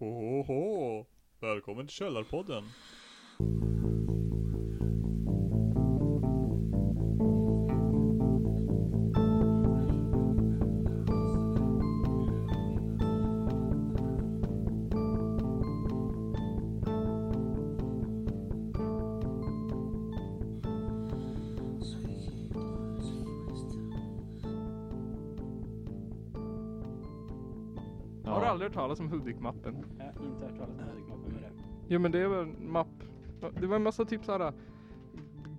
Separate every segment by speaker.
Speaker 1: Ho, ho, ho. Välkommen till Källarpodden.
Speaker 2: Har du aldrig hört talas om Hudik-mappen?
Speaker 3: Jag har inte hört talas om Hudik-mappen med det.
Speaker 2: Jo men det var en mapp. Det var en massa typ såhär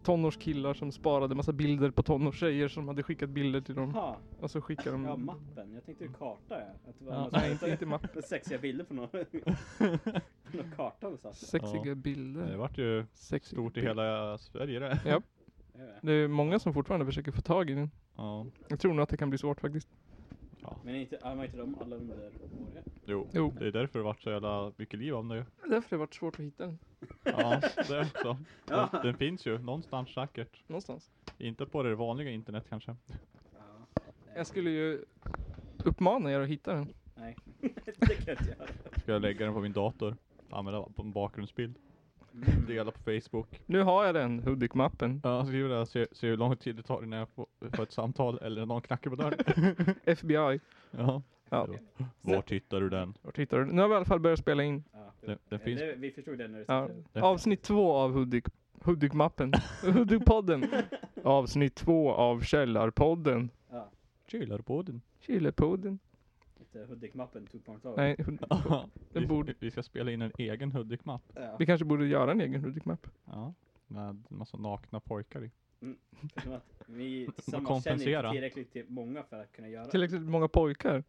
Speaker 2: tonårskillar som sparade massa bilder på tonårstjejer som hade skickat bilder till dem.
Speaker 3: Jaha,
Speaker 2: Och så skickade de...
Speaker 3: ja mappen. Jag tänkte karta ja. Att det var
Speaker 1: Ja,
Speaker 3: ja,
Speaker 2: Nej inte, inte mapp.
Speaker 3: sexiga bilder på någon, på någon karta någonstans.
Speaker 2: Sexiga
Speaker 1: Ja. Eh, Det
Speaker 2: bilder.
Speaker 1: vart ju
Speaker 2: Sexiga
Speaker 1: stort i
Speaker 2: bilder.
Speaker 1: hela Sverige det.
Speaker 2: Ja.
Speaker 3: Jag vet inte.
Speaker 2: Det är många som fortfarande försöker få tag i den.
Speaker 1: Ja.
Speaker 2: Jag tror nog att det kan bli svårt faktiskt.
Speaker 3: Men är inte, ja, var inte de alla under året?
Speaker 1: Jo.
Speaker 2: Jo.
Speaker 1: Det är därför det vart så jävla mycket liv om det ju.
Speaker 2: Därför har det varit svårt att hitta den.
Speaker 1: Ja, det är så.
Speaker 3: Ja.
Speaker 1: Den, den finns ju någonstans säkert.
Speaker 2: Någonstans.
Speaker 1: Inte på det vanliga internet kanske.
Speaker 3: Ja.
Speaker 2: Jag skulle ju uppmana er att hitta den.
Speaker 3: Nej, det kan jag inte göra.
Speaker 1: Ska jag lägga den på min dator? Använda på en bakgrundsbild.
Speaker 3: Mm.
Speaker 1: Dela på Facebook.
Speaker 2: Nu har jag den, Hudik-mappen.
Speaker 1: Ja, skriv det här. Se, se hur lång tid det tar innan jag får, får ett samtal eller någon knackar på dörren.
Speaker 2: FBI.
Speaker 1: Ja.
Speaker 2: Ja.
Speaker 1: Vart hittar du den?
Speaker 2: Vart hittar du den? Nu har vi i alla fall börjat spela in.
Speaker 3: Ja.
Speaker 1: Den, den finns
Speaker 3: Det, vi förstod det när du
Speaker 2: Ja.
Speaker 3: sa det.
Speaker 2: Avsnitt två av Hudik, Hudik-mappen. Hudik-podden. Avsnitt två av Källarpodden.
Speaker 3: Ja.
Speaker 1: Chillar på den.
Speaker 2: Källarpodden.
Speaker 3: Inte Hudik-mappen 2.0.
Speaker 2: Nej, hud- Den
Speaker 1: vi,
Speaker 2: borde-
Speaker 1: vi ska spela in en egen Hudik-mapp.
Speaker 3: Ja.
Speaker 2: vi kanske borde göra en egen Hudik-mapp.
Speaker 1: Ja. Med en massa nakna pojkar i.
Speaker 3: Förutom att Vi
Speaker 1: Man
Speaker 3: tillsammans känner
Speaker 1: kompensera.
Speaker 3: inte tillräckligt till många för att kunna göra
Speaker 2: Tillräckligt många pojkar.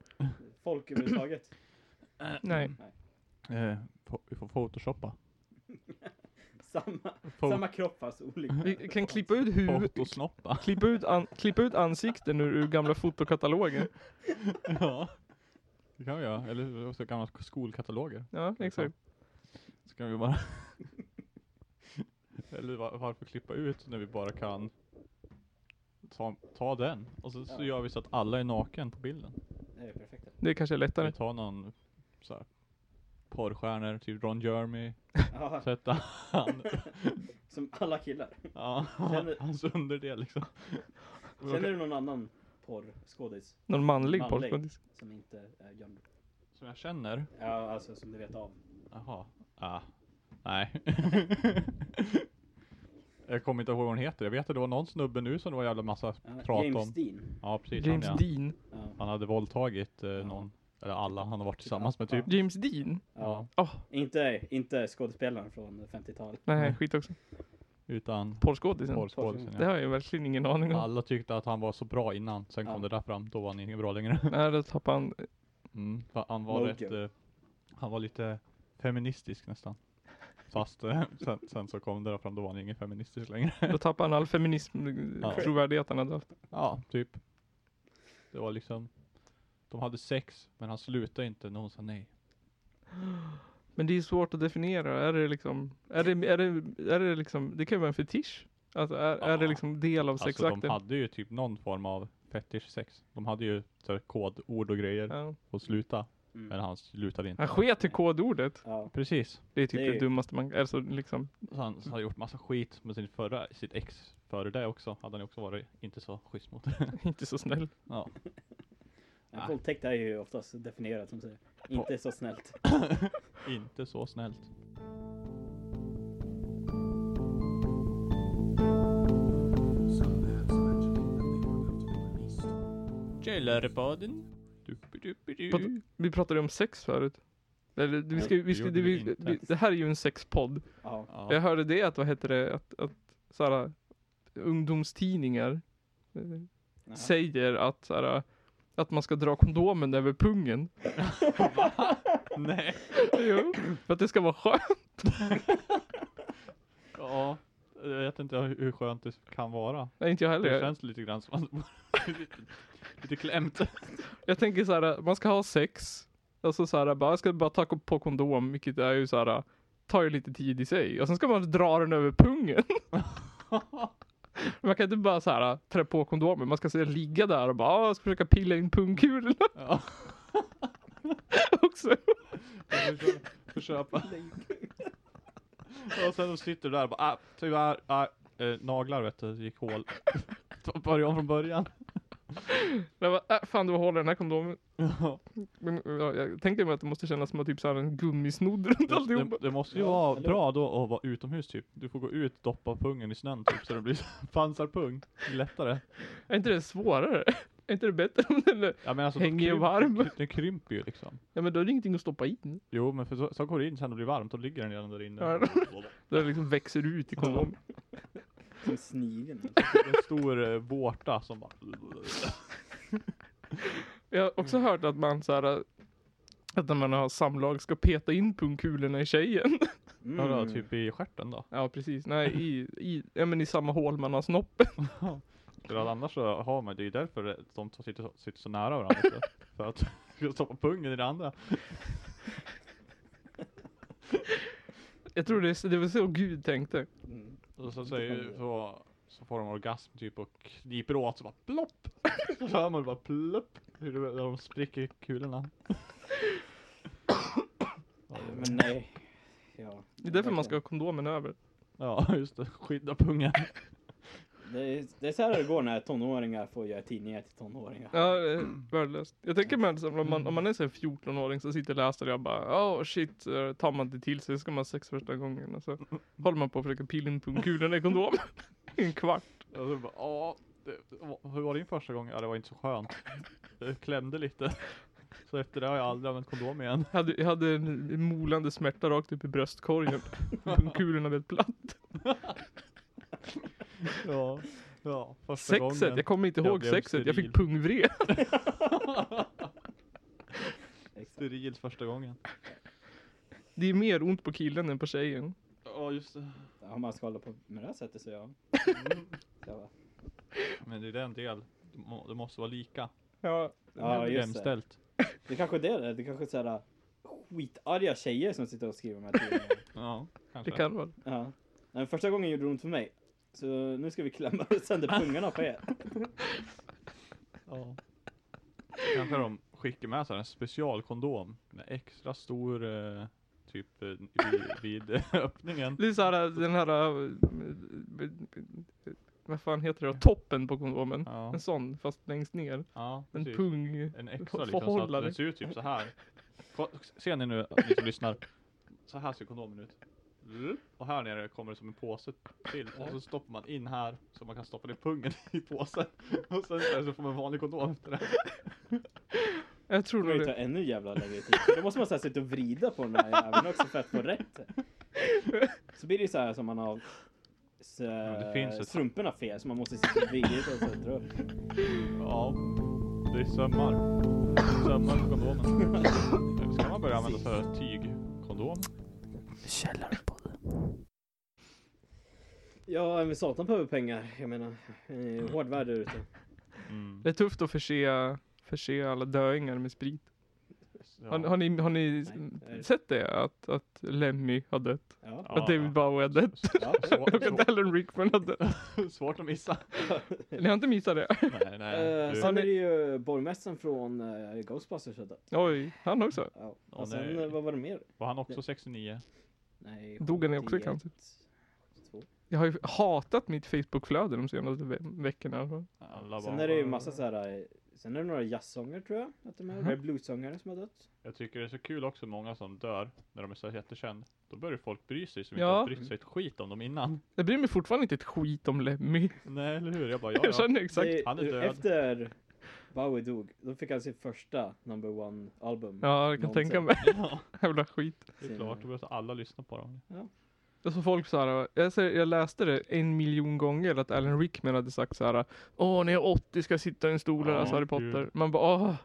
Speaker 3: folk överhuvudtaget.
Speaker 1: Äh, mm.
Speaker 2: Nej.
Speaker 1: Eh, få- vi får photoshoppa.
Speaker 3: Samma,
Speaker 1: Fot-
Speaker 3: samma kropp fast olika.
Speaker 2: Vi kan klippa ut huvudet.
Speaker 1: Fotosnoppa.
Speaker 2: Klippa ut, an, klippa ut ansikten ur, ur gamla fotokatalogen.
Speaker 1: ja. Det kan vi göra. Eller så gamla skolkataloger.
Speaker 2: Ja, exakt.
Speaker 1: Så kan vi bara... Eller va- varför klippa ut när vi bara kan ta, ta den? Och så, så
Speaker 3: Ja.
Speaker 1: gör vi så att alla är naken på bilden.
Speaker 3: Det är det perfekta.
Speaker 2: Det kanske är lättare.
Speaker 1: Vi tar någon så här, porrstjärnor, typ Ron Jeremy.
Speaker 3: Ja,
Speaker 1: Sätta han,
Speaker 3: som alla killar.
Speaker 1: ja,
Speaker 3: Känner-
Speaker 1: hans underdel liksom.
Speaker 3: Känner du någon annan porrskådis
Speaker 2: Någon manlig
Speaker 3: Manlig.
Speaker 2: porrskådis.
Speaker 3: som inte är John
Speaker 1: Som jag känner?
Speaker 3: Ja, alltså som du vet av.
Speaker 1: Jaha. Ah. Nej. jag kommer inte ihåg vad hon heter. Jag vet att det var någon snubbe nu som det var jävla massa
Speaker 3: Ja,
Speaker 1: prat
Speaker 3: James
Speaker 1: om.
Speaker 3: Dean.
Speaker 1: Ja precis.
Speaker 2: James
Speaker 1: han, ja.
Speaker 2: Dean.
Speaker 3: Ja.
Speaker 1: han hade våldtagit eh, någon. Eller alla han har varit tillsammans med typ.
Speaker 2: James Dean?
Speaker 1: Ja.
Speaker 3: Ja.
Speaker 2: Åh,
Speaker 3: Inte, inte skådespelaren från 50-talet.
Speaker 2: nej skit också.
Speaker 1: Utan
Speaker 2: Porrskådisen.
Speaker 1: porrskådisen.
Speaker 2: Det
Speaker 1: Mm. Ja.
Speaker 2: har jag verkligen ingen aning om.
Speaker 1: Alla tyckte att han var så bra innan. Sen kom
Speaker 3: Ja.
Speaker 1: det där fram. Då var han inte bra längre.
Speaker 2: Nej, då tappar han
Speaker 1: Mm, för han var
Speaker 3: Mojo.
Speaker 1: rätt, eh, han var lite feministisk nästan. Fast eh, sen, sen så kom det där fram, då var han ingen feministisk längre.
Speaker 2: Då tappar han all feminism,
Speaker 1: Ja.
Speaker 2: trovärdighet han hade haft.
Speaker 1: Ja, typ. Det var liksom, de hade sex, men han slutade inte när hon sa nej.
Speaker 2: Men det är svårt att definiera. Är det liksom, är det, är det, är det liksom, det kan ju vara en fetisch. Alltså är, är det
Speaker 1: Ja.
Speaker 2: liksom del av
Speaker 1: Alltså de
Speaker 2: sexakten?
Speaker 1: hade ju typ någon form av fetish sex. De hade ju så här kodord och grejer
Speaker 2: ja.
Speaker 1: och sluta,
Speaker 3: Mm.
Speaker 1: men han slutade inte.
Speaker 2: Han sket i kodordet.
Speaker 3: Ja.
Speaker 1: Precis.
Speaker 2: Det är typ
Speaker 3: Det
Speaker 2: det,
Speaker 3: är ju-
Speaker 2: dummaste man, alltså liksom,
Speaker 1: Så han, så han har gjort massa skit med sin förra, sitt ex före det också. Hade han också varit inte så schysst mot.
Speaker 2: inte så snäll.
Speaker 1: ja.
Speaker 3: En våldtäkt är ju oftast definierat som säger. Inte så snällt.
Speaker 1: Inte så snällt. Källarbaden.
Speaker 2: Prat- Vi pratade om sex förut. Eller, vi ska, vi ska,
Speaker 1: gjorde
Speaker 2: det,
Speaker 1: vi
Speaker 2: vi,
Speaker 1: inte.
Speaker 2: vi, det här är ju en sexpodd.
Speaker 3: Ja.
Speaker 2: Jag
Speaker 1: Ja.
Speaker 2: hörde det att, vad heter det, att, att såhär, ungdomstidningar eh,
Speaker 3: Jaha.
Speaker 2: säger att, såhär, att man ska dra kondomen över pungen.
Speaker 1: Nej.
Speaker 2: Jo, för att det ska vara skönt.
Speaker 1: Ja. Jag vet inte hur hur skönt det kan vara.
Speaker 2: Nej, inte jag heller.
Speaker 1: Det
Speaker 2: Jag-
Speaker 1: känns lite grann som att lite, lite klämt.
Speaker 2: Jag tänker så här, man ska ha sex. Alltså så här, bara, jag ska bara ta på kondom, vilket är ju så här, tar ju lite tid i sig. Och sen ska man dra den över pungen. Man kan inte bara så här trä på kondomen, man ska så här, ligga där och bara, "Ah, jag ska försöka pilla in pungkulorna.
Speaker 1: Ja.
Speaker 2: också.
Speaker 1: Försöka köpa. Och sen de sitter där och bara, ah, tyvärr, ah, eh, naglar vet du, gick hål. Börja om från början.
Speaker 2: Jag bara, äh, fan det var hål i den här kondomen.
Speaker 1: Ja.
Speaker 2: Men, ja, jag tänkte mig att det måste kännas som att typ så här en gummisnodd runt
Speaker 1: Det,
Speaker 2: alltihopa.
Speaker 1: det, det måste ju
Speaker 3: Ja,
Speaker 1: vara
Speaker 3: eller
Speaker 1: bra då att vara utomhus typ. Du får gå ut, doppa pungen i snön typ så det blir pansarpung. Det är Lättare.
Speaker 2: Är inte det svårare? Är inte det bättre om den är...
Speaker 1: Ja, men alltså,
Speaker 2: Hänger ju
Speaker 1: krymp-
Speaker 2: varm.
Speaker 1: kry- Den krymper ju liksom.
Speaker 2: Ja men då är det ingenting att stoppa in.
Speaker 1: Jo men för så, så går det in sen och blir varmt, då ligger den redan där inne.
Speaker 2: Ja. Den liksom växer ut i kondomen.
Speaker 3: Som snigeln.
Speaker 1: En stor eh, vårta som bara...
Speaker 2: Jag har också hört att man så här... äh, Att när man har samlag ska peta in pungkulorna i tjejen.
Speaker 3: Mm.
Speaker 1: Ja, då, typ i stjärten då.
Speaker 2: Ja precis, nej i, i, ja, men i samma hål man har snoppen.
Speaker 1: För att annars så har man, det är ju därför det- de två sitter, så- sitter så nära varandra. så. för att ska stoppa pungen i det andra.
Speaker 2: Jag tror det, är- det var så Gud tänkte.
Speaker 3: Mm.
Speaker 1: Och så, säger, så, så får de orgasm typ och kniper åt så bara plopp. Så hör man bara plopp. Hur det- när de spricker kulorna. Ja, det-
Speaker 3: Men nej. Ja.
Speaker 2: Det är därför man ska ha kondomen över.
Speaker 1: Ja just det, skydda pungen.
Speaker 3: Det är, det är så här det går när tonåringar får göra tidningar till tonåringar.
Speaker 2: Ja, eh, värdelöst. Jag tänker mig att så här, om man, om man är så här 14-åring så sitter och läser och jag bara åh shit, eh, tar man inte till sig så ska man ha sex första gången och så håller man på att försöka pilla in pungkulorna i kondomen. I en kvart.
Speaker 1: Och så bara, ja, det, det var- hur var din första gång? Ja det var inte så skönt. Det klämde lite. Så efter det har jag aldrig använt kondom igen.
Speaker 2: Jag hade, jag hade en molande smärta rakt upp i bröstkorgen. Pungkulorna blev platt.
Speaker 1: Ja, ja första
Speaker 2: Sexet,
Speaker 1: gången.
Speaker 2: jag kommer inte
Speaker 1: jag
Speaker 2: ihåg
Speaker 1: blev
Speaker 2: sexet. Jag
Speaker 1: steril.
Speaker 2: fick pungvred.
Speaker 3: Exakt.
Speaker 1: Sterilt första gången.
Speaker 2: Det är mer ont på killen än på tjejen.
Speaker 1: Ja just det.
Speaker 3: Om man ska hålla på med det här sättet så ja. ja.
Speaker 1: Men det är en del. Det må- Det måste vara lika.
Speaker 2: Ja,
Speaker 3: Ja, just det.
Speaker 1: Jämställt.
Speaker 3: Det kanske är det det är. Det kanske är såhär skitarga tjejer som sitter och skriver de här tidningarna.
Speaker 1: Ja, kanske.
Speaker 2: det kan vara.
Speaker 3: Ja. Nej, första gången gjorde det ont för mig. Så nu ska vi klämma sönder
Speaker 1: Ah.
Speaker 3: pungarna på er.
Speaker 1: Ja. Kanske de skickar med sig en specialkondom med extra stor eh, typ eh, vid, vid eh, öppningen.
Speaker 2: Det är så här, den här, eh, vad fan heter det då? Toppen på kondomen.
Speaker 1: Ja,
Speaker 2: En sån, fast längst ner.
Speaker 1: ja
Speaker 2: En
Speaker 1: precis.
Speaker 2: pung.
Speaker 1: En extra
Speaker 2: Få-
Speaker 1: liksom så att
Speaker 2: förhållare.
Speaker 1: den ser ut typ så här. Ko- Ser ni nu, ni som lyssnar? Så här ser kondomen ut. Och här nere kommer det som en påse till och så stoppar man in här så man kan stoppa ner pungen i påsen. Och sen så får man en vanlig kondom efter det.
Speaker 2: Jag tror nog
Speaker 3: Det kommer ju ta
Speaker 2: det.
Speaker 3: ännu jävla längre tid. För Då måste man så här sitta och vrida på den här jäveln också för att få rätt. Så blir det ju så här som man har så,
Speaker 1: det finns ett-
Speaker 3: strumporna fel så man måste sitta och vrida och så dra upp.
Speaker 1: Ja, det är sömmar. Sömmar på kondomen. Ska man börja använda så här tygkondom?
Speaker 3: Ja, men satan behöver pengar. Jag menar, eh, hård värld där ute.
Speaker 1: Mm.
Speaker 2: det är tufft att förse, förse alla döingar med sprit. Har,
Speaker 1: Ja.
Speaker 2: har ni, har ni
Speaker 3: Nej, det är-
Speaker 2: sett det? Att, att Lemmy har dött?
Speaker 3: Ja.
Speaker 1: Ja,
Speaker 2: att David Bowie har dött?
Speaker 3: Ja.
Speaker 1: Svår-
Speaker 2: Och att Alan Rickman har dött?
Speaker 1: svår- Svårt att missa.
Speaker 2: Ni har inte missat det?
Speaker 1: Nej, nej.
Speaker 3: Eh,
Speaker 1: Du,
Speaker 3: sen är det ju borgmästaren från eh, Ghostbusters. och sådär.
Speaker 2: Oj, han också?
Speaker 3: Ja.
Speaker 1: Åh,
Speaker 3: Och sen,
Speaker 1: nej.
Speaker 3: eh, vad var det mer?
Speaker 1: var han också 69?
Speaker 3: Nej,
Speaker 2: Dog han också i
Speaker 3: 71,
Speaker 2: cancer?
Speaker 3: 72.
Speaker 2: Jag har ju hatat mitt Facebookflöde de senaste ve veckorna. i alla fall.
Speaker 1: Alla
Speaker 3: Sen
Speaker 1: bara-
Speaker 3: är det ju massa så här. eh, Sen är det några jazzsångare tror jag. Att de är,
Speaker 2: Mhm.
Speaker 3: eller bluessångare som har dött.
Speaker 1: Jag tycker det är så kul också många som dör när de är så här jättekända. Då börjar folk bry sig som
Speaker 2: Ja.
Speaker 1: inte har brytt sig ett skit om dem innan.
Speaker 2: Jag bryr mig fortfarande inte ett skit om Lemmy.
Speaker 1: Nej, eller hur? Jag bara, ja,
Speaker 2: Jag
Speaker 1: ja.
Speaker 2: känner exakt.
Speaker 3: Det-
Speaker 1: han är död.
Speaker 3: Efter Bowie dog, då fick han sitt första number one album.
Speaker 2: Ja, jag kan
Speaker 3: Någonsin.
Speaker 2: tänka mig.
Speaker 1: ja.
Speaker 2: Jävla skit.
Speaker 1: Det är klart, då börjar så alla lyssna på dem.
Speaker 2: Alltså folk så här, jag, ser, jag läste det en miljon gånger att Alan Rickman hade sagt så här. Åh, när jag är 80 ska jag sitta i en stol och
Speaker 1: Ja,
Speaker 2: läsa Harry
Speaker 1: gud.
Speaker 2: Potter. Man bara, åh, kan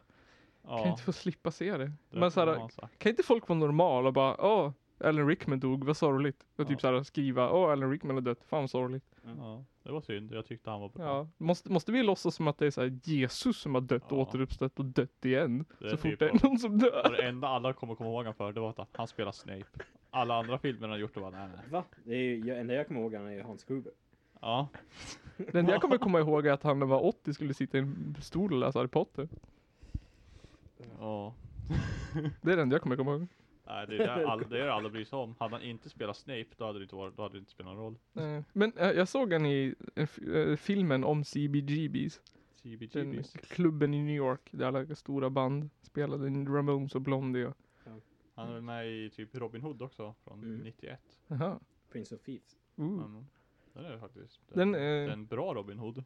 Speaker 1: Ja,
Speaker 2: inte få slippa se det.
Speaker 1: det
Speaker 2: Men så
Speaker 1: har
Speaker 2: här,
Speaker 1: han sagt.
Speaker 2: kan inte folk vara normala och bara, åh, Alan Rickman dog, vad sorgligt.
Speaker 1: Ja.
Speaker 2: Och typ så här skriva, åh, Alan Rickman har dött, fan vad sorgligt.
Speaker 1: Ja, det var synd. Jag tyckte han var bra.
Speaker 2: Ja, måste, måste vi låtsas som att det är så här Jesus som har dött och
Speaker 1: Ja.
Speaker 2: återuppstått och dött igen?
Speaker 1: Det är
Speaker 2: så
Speaker 1: typ
Speaker 2: fort det
Speaker 1: av-
Speaker 2: är någon som
Speaker 1: Och
Speaker 2: dör.
Speaker 1: det enda alla kommer komma ihåg han för, det var att han spelar Snape. Alla andra filmer han har gjort, det var nej, nej.
Speaker 3: Va? Det är ju, jag- enda jag kommer ihåg han är ju Hans Gruber.
Speaker 1: Ja,
Speaker 2: Det enda jag kommer komma ihåg är att han när han var 80 skulle sitta i en stol och läsa Harry Potter.
Speaker 1: ja.
Speaker 2: Det är den jag kommer komma ihåg.
Speaker 1: Nej, det är det alla, det är det alla bryr sig om. Hade han inte spelat Snape, då hade det inte, varit, då hade det inte spelat någon roll.
Speaker 2: Eh, Men eh, jag såg den i eh, f- eh, filmen om CBGBs. Den
Speaker 1: CBGBs.
Speaker 2: klubben i New York där alla stora band spelade. Ramones och Blondie och...
Speaker 1: Han är väl med i typ Robin Hood också, från
Speaker 3: Mm.
Speaker 1: 91.
Speaker 2: Aha.
Speaker 3: Prince of Thieves.
Speaker 2: Uh.
Speaker 1: Mm. Den är faktiskt
Speaker 2: Den
Speaker 1: den, eh,
Speaker 2: är-
Speaker 1: den bra Robin Hood.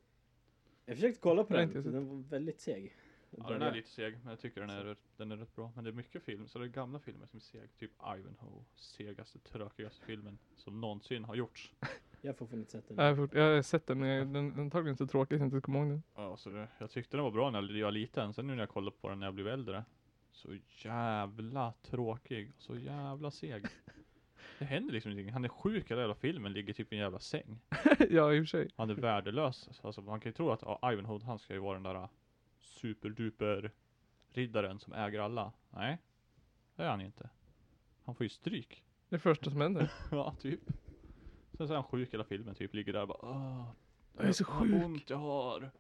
Speaker 3: Jag försökte kolla på
Speaker 2: Jag har
Speaker 3: den,
Speaker 2: inte sett.
Speaker 3: den var väldigt seg.
Speaker 1: Ja, den är lite seg, men jag tycker den är, rätt- den är rätt bra. Men det är mycket film, så det är gamla filmer som är seg. Typ Ivanhoe, segaste, tråkigaste filmen som någonsin har gjorts.
Speaker 3: Jag får fan inte sett den.
Speaker 2: Jag, har fort, jag har sett den, men jag- den den är antagligen så tråkig att jag inte kommer ihåg den.
Speaker 1: Ja, så det, jag tyckte den var bra när jag var liten, sen nu när jag kollade på den när jag blev äldre. Så jävla tråkig, så jävla seg. Det händer liksom ingenting. Han är sjuk i hela jävla filmen, ligger typ i en jävla säng.
Speaker 2: ja, i och för sig.
Speaker 1: Han är värdelös. Så Alltså, man kan ju tro att ja, Ivanhoe, han ska ju vara den där ah, superduper riddaren som äger alla. Nej, det är han inte. Han får ju stryk.
Speaker 2: Det första som händer.
Speaker 1: Ja, typ. Sen så är han sjuk hela filmen, typ ligger där och bara Åh,
Speaker 2: Jag är så
Speaker 1: vad
Speaker 2: sjuk."
Speaker 1: ont jag har.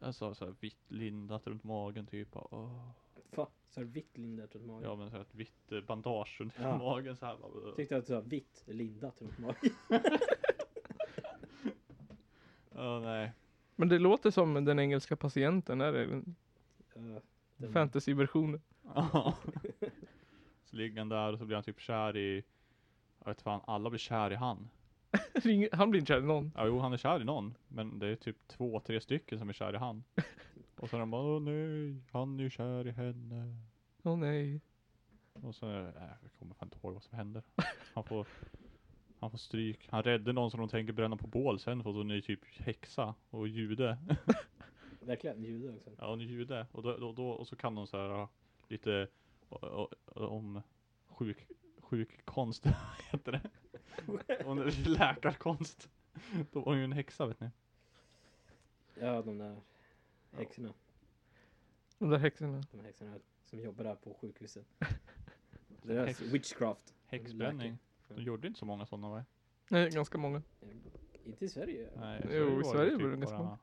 Speaker 1: Alltså så här vitt lindat runt magen typ. bara, Åh.
Speaker 3: Fan, så har du vitt lindat runt magen?
Speaker 1: Ja men så här ett vitt eh, bandage runt
Speaker 3: Ja.
Speaker 1: magen så här. Bara, "Åh."
Speaker 2: Typ.
Speaker 3: Tyckte att du sa vitt lindat runt magen.
Speaker 1: Ja, nej.
Speaker 2: Men det låter som den engelska patienten, är det? Den
Speaker 3: Ja, den-
Speaker 2: Fantasyversionen.
Speaker 1: Ja. så ligger han där och så blir han typ kär i, jag vet fan, alla blir kär i han.
Speaker 2: Ring- Han blir inte kär i någon.
Speaker 1: Ja, jo han är kär i någon, men det är typ två, tre stycken som är kär i han. Och sen är han bara, åh nej, han är ju kär i henne.
Speaker 2: Åh nej.
Speaker 1: Och så, nej, jag kommer fan inte ihåg vad som händer. Han får, han får stryk. Han räddar någon som de tänker bränna på bål sen för att hon är typ häxa och jude.
Speaker 3: Verkligen, jude också.
Speaker 1: Ja hon är jude. Och, då, då, då, och så kan hon så här ja, lite o- o- om sjuk, sjukkonst, heter det. Hon är lite läkarkonst. Då var hon ju en häxa vet ni.
Speaker 3: Ja, de där häxorna.
Speaker 2: De där häxorna.
Speaker 3: De här häxorna som jobbar där på sjukhuset. Det där
Speaker 1: Häx-
Speaker 3: är witchcraft.
Speaker 1: Häxbränning. De gjorde inte så många sådana va?
Speaker 2: Nej, ganska många.
Speaker 3: Inte i Sverige.
Speaker 1: Nej,
Speaker 2: Jo,
Speaker 1: var
Speaker 2: i
Speaker 1: det
Speaker 2: Sverige
Speaker 1: typ
Speaker 2: var det ganska
Speaker 1: bara-
Speaker 2: många.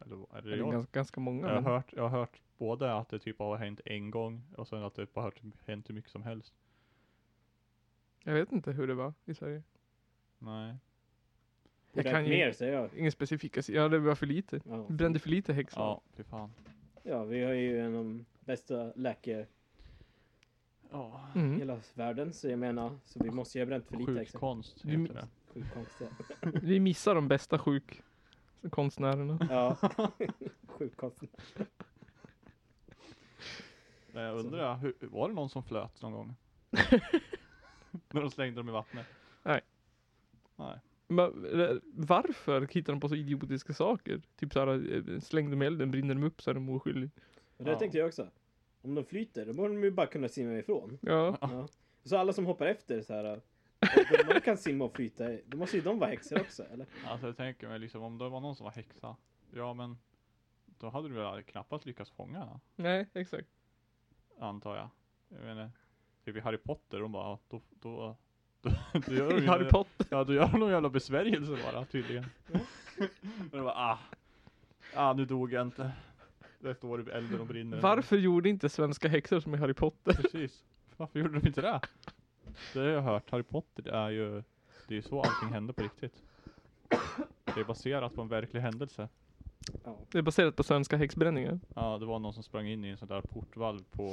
Speaker 1: Eller, eller
Speaker 2: Eller
Speaker 1: jag
Speaker 2: ganska, ganska många.
Speaker 1: Jag har,
Speaker 2: men-
Speaker 1: hört, jag har hört både att det typ har hänt en gång och sen att det bara har typ hänt hur mycket som helst.
Speaker 2: Jag vet inte hur det var i Sverige.
Speaker 1: Nej.
Speaker 2: Jag
Speaker 3: Det är
Speaker 2: kan ju-
Speaker 3: mer säger jag.
Speaker 2: Ingen specifika. si- Ja, det var för lite.
Speaker 3: Ja.
Speaker 2: Vi brände för lite häxor.
Speaker 1: Ja, fy fan.
Speaker 3: ja, vi har ju en av de bästa läkare
Speaker 1: Ja.
Speaker 3: i
Speaker 2: Mm.
Speaker 3: hela världen. Så jag menar, så vi måste ju ha bränt för lite häxor.
Speaker 1: Sjukkonst
Speaker 2: Du-
Speaker 1: heter det.
Speaker 3: Sjukkonst. ja.
Speaker 2: Vi missar de bästa sjukkonstnärerna.
Speaker 3: Ja. Sjukkonst.
Speaker 1: Men jag undrar, hur, var det någon som flöt någon gång? När de slängde dem i vattnet?
Speaker 2: Nej.
Speaker 1: Nej.
Speaker 2: Men, eh, varför hittar de på så idiotiska saker? Typ såhär, eh, släng dem i elden, brinner de upp så är de oskyldiga.
Speaker 3: Och det
Speaker 1: Ja.
Speaker 3: tänkte jag också. Om de flyter, då borde de ju bara kunna simma ifrån.
Speaker 2: Ja,
Speaker 3: Ja. Så alla som hoppar efter så här. och De kan simma och flyta. Då måste ju de vara häxor också, eller?
Speaker 1: Alltså jag tänker mig liksom om det var någon som var häxa. Ja men. Då hade du väl knappast lyckats fånga henne.
Speaker 2: nej exakt.
Speaker 1: Antar jag. Jag menar. Typ i Harry Potter. De bara. ja, Då. då, då, då, då gör de
Speaker 2: I
Speaker 1: ju-
Speaker 2: Harry Potter.
Speaker 1: Ja, du gör någon jävla besvärjelse bara tydligen. Men det var ah, ah, nu dog jag inte. Det står i elden och brinner.
Speaker 2: Varför gjorde inte svenska häxor som i Harry Potter?
Speaker 1: Precis. Varför gjorde de inte det? Det har jag hört. Harry Potter det är ju, det är ju så allting händer på riktigt. Det är baserat på en verklig händelse.
Speaker 3: Ja.
Speaker 2: Det är baserat på svenska häxbränningar.
Speaker 1: Ja, det var någon som sprang in i en sån där portvalv på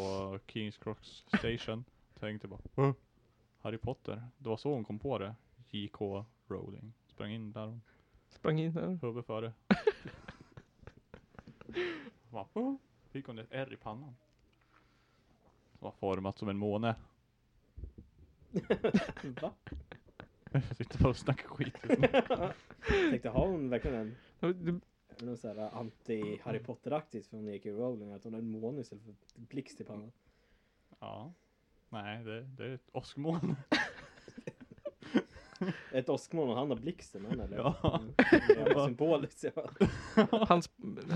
Speaker 1: Kings Cross Station. Tänkte bara, "Hå? Harry Potter. Det var så hon kom på det. J.K. Rowling. Sprang in där hon
Speaker 2: Sprang in här.
Speaker 1: Huvud före. Va? Fick hon ett R i pannan? Som var format som en måne.
Speaker 3: Va?
Speaker 1: Jag sitter bara och snackar skit.
Speaker 3: Tänkte, har hon verkligen en
Speaker 2: Du-
Speaker 3: är det någon sån här anti-Harry Potter-aktigt från J.K. Rowling? Att hon har en måne istället för blixt i pannan?
Speaker 1: Ja. Nej, det, det är ett åskmoln.
Speaker 3: Ett åskmoln och han har blixten, han eller?
Speaker 1: Ja.
Speaker 3: Mm. Det är jävla Symboliskt, ja.
Speaker 2: Hans,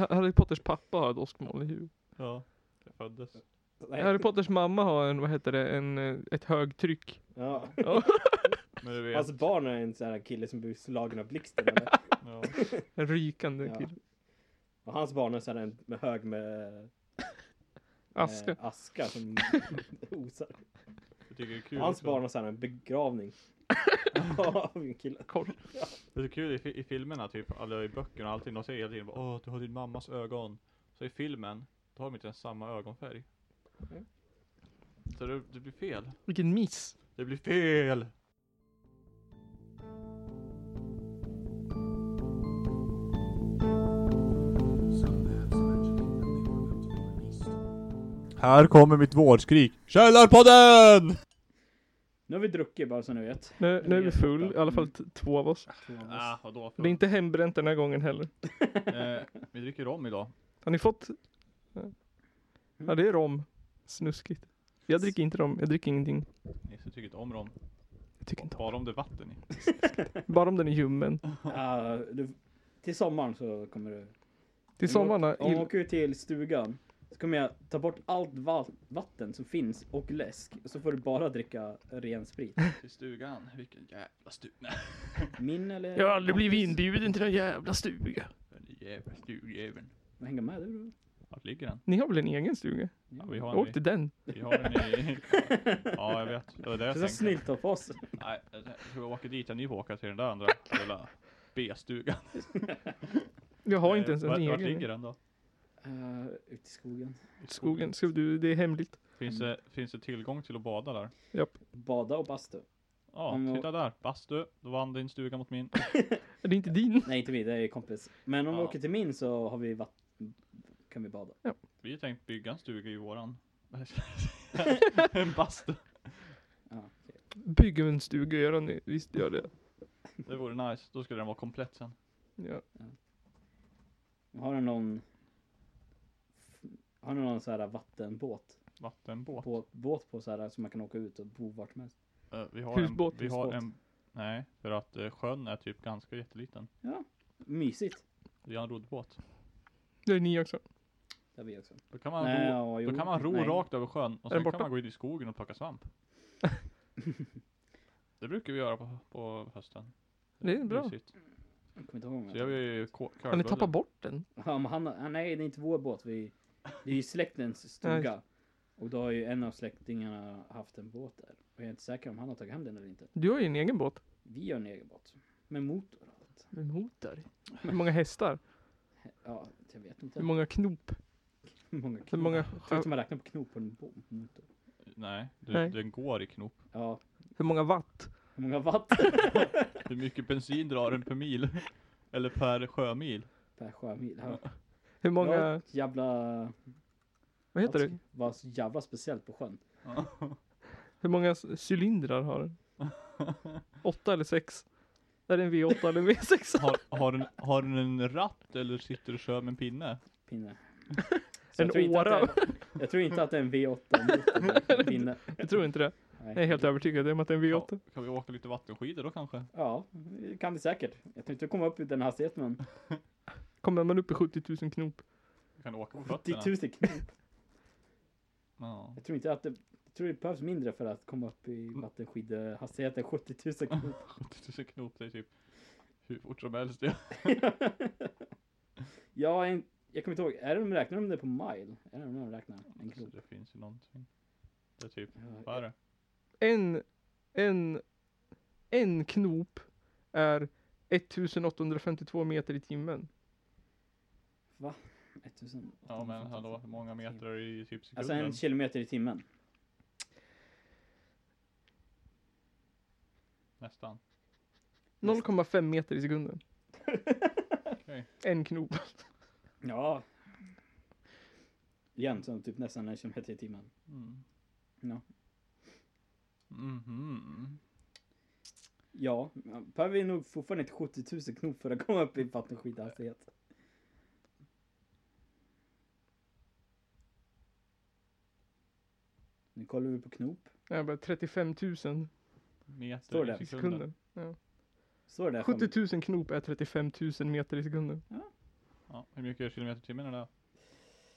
Speaker 2: Harry Potters pappa har ett åskmoln i huvudet.
Speaker 1: Ja. Det föddes.
Speaker 3: Nej.
Speaker 2: Harry Potters mamma har en, vad heter det, en, eh, ett högtryck.
Speaker 3: Ja.
Speaker 2: Ja.
Speaker 1: Men du vet.
Speaker 3: Hans barn är en sån här kille som blir slagen av blixten, eller?
Speaker 1: ja.
Speaker 2: En rykande
Speaker 3: Ja.
Speaker 2: kille.
Speaker 3: Och hans barn är sån här en med hög med
Speaker 2: Aska.
Speaker 3: Eh, aska som osar.
Speaker 1: Jag tycker det är kul.
Speaker 3: Hans
Speaker 1: också.
Speaker 3: barn har så här en begravning. Av en kille.
Speaker 2: Korv.
Speaker 1: Det är så kul i, fi- i filmerna typ, eller i böckerna och allting, de säger hela tiden bara, Åh, du har din mammas ögon. Så i filmen, då har de inte ens samma ögonfärg.
Speaker 3: Mm.
Speaker 1: Så det, det blir fel.
Speaker 2: Vilken miss.
Speaker 1: Det blir fel! Här kommer mitt vårdskrik. Källarpodden!
Speaker 3: Nu har vi druckit bara så ni vet.
Speaker 2: Nu, nu är vi full, i alla fall t- två av oss.
Speaker 3: Två av
Speaker 1: Ah,
Speaker 3: oss.
Speaker 1: vadå?
Speaker 2: Det är inte hembränt den här gången heller.
Speaker 1: eh, vi dricker rom idag.
Speaker 2: Har ni fått? Ja, det är rom. Snuskigt. Jag dricker inte rom, jag dricker ingenting.
Speaker 1: Nisse tycker inte om rom.
Speaker 2: Jag tycker inte om.
Speaker 1: Bara om det är vatten i.
Speaker 2: Bara om den är ljummen.
Speaker 3: Ah, du, till sommaren så kommer du.
Speaker 2: Till sommaren, har
Speaker 3: Om jag
Speaker 2: ill-
Speaker 3: åker ut till stugan. Så kommer jag ta bort allt val- vatten som finns och läsk. Och så får du bara dricka ren sprit.
Speaker 1: Till stugan. Vilken jävla stuga.
Speaker 3: Min eller?
Speaker 2: jag har aldrig blivit inbjuden till den jävla stugan.
Speaker 1: Den jävla stugjäveln.
Speaker 3: Men Hänga med du då.
Speaker 1: Vart ligger den?
Speaker 2: Ni har väl en egen stuga?
Speaker 1: Ja, vi har
Speaker 2: Åk
Speaker 1: den i...
Speaker 2: till den.
Speaker 1: Vi har den i... Ja, jag vet. Det var det jag
Speaker 3: Det är så
Speaker 1: tänkte.
Speaker 3: snällt av oss.
Speaker 1: Nej, jag tror jag åker dit. Jag ni får åka till den där andra lilla B-stugan.
Speaker 2: Jag har inte ens
Speaker 1: Eh, Vart-
Speaker 2: en
Speaker 1: Vart
Speaker 2: egen.
Speaker 1: ligger den då?
Speaker 3: Uh, ut i skogen.
Speaker 2: Skogen. Ska du, det är hemligt.
Speaker 1: Finns det,
Speaker 2: Mm.
Speaker 1: finns det tillgång till att bada där?
Speaker 2: Japp.
Speaker 3: Bada och bastu.
Speaker 1: Ja,
Speaker 3: Om-
Speaker 1: titta där. Bastu. Då vann din stuga mot min.
Speaker 2: Det är inte din.
Speaker 3: Nej inte vi, det är kompis. Men om vi
Speaker 1: Ja.
Speaker 3: åker till min så har vi vatten. Kan vi bada.
Speaker 1: Vi har tänkt bygga en stuga i våran. en bastu.
Speaker 3: Ja, okej.
Speaker 2: Bygg en stuga, gör ni. Visst gör det.
Speaker 1: Det vore nice. Då skulle den vara komplett sen.
Speaker 2: Ja.
Speaker 3: Har du någon Har du någon så här vattenbåt?
Speaker 1: Vattenbåt.
Speaker 3: Båt, båt på så här som man kan åka ut och bo vart som helst?
Speaker 1: Eh, vi har
Speaker 2: Husbåt,
Speaker 1: en, vi har
Speaker 3: husbåt.
Speaker 1: en, nej, för att eh, sjön är typ ganska jätteliten.
Speaker 3: Mysigt.
Speaker 1: Vi har en roddbåt.
Speaker 2: Det är ni också.
Speaker 3: Det har vi också.
Speaker 1: Då kan man
Speaker 3: Nej,
Speaker 1: ro,
Speaker 3: ja,
Speaker 1: då
Speaker 3: jo.
Speaker 1: kan man ro
Speaker 3: Nej.
Speaker 1: rakt över sjön och sen
Speaker 2: den
Speaker 1: kan
Speaker 2: borta?
Speaker 1: man gå in i skogen och plocka svamp. det brukar vi göra på, på hösten.
Speaker 2: Det är bra.
Speaker 1: Mysigt.
Speaker 3: Jag kommer inte ihåg
Speaker 1: Så gör
Speaker 3: vad
Speaker 1: vi ko-
Speaker 2: Har ni tappat
Speaker 1: curlbullar.
Speaker 2: bort den?
Speaker 3: ja, men han, han, Nej det är inte vår båt. Vi, det är ju släktens stuga. Och då har ju en av släktingarna haft en båt där. Och jag är inte säker om han har tagit hem den eller inte.
Speaker 2: Du har ju en egen båt.
Speaker 3: Vi har en egen båt. Med motor och allt.
Speaker 2: Med motor. Hur många hästar?
Speaker 3: Ja, jag vet inte.
Speaker 2: Hur många knop?
Speaker 3: Hur många
Speaker 2: Hur
Speaker 3: knop?
Speaker 2: många,
Speaker 3: Jag tror inte man räknar på knop på en bo- motor.
Speaker 1: Nej, du,
Speaker 2: Nej.
Speaker 1: den går i knop.
Speaker 3: Ja,
Speaker 2: hur många watt?
Speaker 3: hur många watt
Speaker 1: Hur mycket bensin drar den per mil? Eller per sjömil?
Speaker 3: per sjömil? Ja.
Speaker 2: Hur många,
Speaker 3: Ja, Alltså. jävla...
Speaker 2: vad heter
Speaker 3: allt
Speaker 2: det?
Speaker 3: Var så jävla speciellt på sjön.
Speaker 2: Hur många s- cylindrar har den? Åtta eller sex? Är det en V8 eller en V6?
Speaker 1: Har, har, den, har den en ratt eller sitter du och kör med en pinne?
Speaker 3: Pinne.
Speaker 2: En
Speaker 3: jag tror inte att
Speaker 2: åra.
Speaker 3: det är- Jag tror inte att det är en V8 pinne.
Speaker 2: Jag tror inte det. Jag är helt övertygad om att det är en
Speaker 1: Ja,
Speaker 2: V8.
Speaker 1: kan vi åka lite vattenskidor då kanske?
Speaker 3: Ja, det kan vi säkert. Jag tänkte komma upp i den hastigheten men
Speaker 2: Kommer man upp i 70 000 knop?
Speaker 1: Vi kan åka på
Speaker 3: 80
Speaker 1: fötterna.
Speaker 3: 000 knop.
Speaker 1: Ja.
Speaker 3: Jag tror inte att det... Jag tror det behövs mindre för att komma upp i vattenskidhastigheten 70 000 knop.
Speaker 1: 70 000 knop, det är typ hur fort som helst. Ja.
Speaker 3: ja, en, jag kommer inte ihåg. Är det de räknar de det på mile? Är det de de räknar? En
Speaker 1: Så
Speaker 3: knop?
Speaker 1: det finns ju någonting. Det är typ,
Speaker 3: Ja,
Speaker 1: vad är det?
Speaker 2: En, en, en knop är 1852 meter i timmen.
Speaker 3: 1000.
Speaker 1: Ja men hallå, hur många meter är det i typ
Speaker 3: Alltså
Speaker 1: sekunden?
Speaker 3: en kilometer i timmen.
Speaker 1: Nästan.
Speaker 2: 0,5 meter i sekunden.
Speaker 1: Okej.
Speaker 2: En knop.
Speaker 3: Ja. Igen, som typ nästan en kilometer i timmen.
Speaker 1: Mm.
Speaker 3: Ja.
Speaker 1: Mhm.
Speaker 3: Ja, men behöver vi nog fortfarande inte 70 000 knop för att komma upp i vattenskidhastighet. Nu kollar vi på knop.
Speaker 2: Jag bara 35 000
Speaker 1: Meter
Speaker 3: Står
Speaker 1: i sekunden.
Speaker 2: i
Speaker 3: det?
Speaker 2: sekunden. Ja.
Speaker 3: Står det där
Speaker 2: 70
Speaker 3: framme?
Speaker 2: 000 knop är 35 000 meter i sekunden.
Speaker 1: Ja, hur mycket kilometer i timmen är det?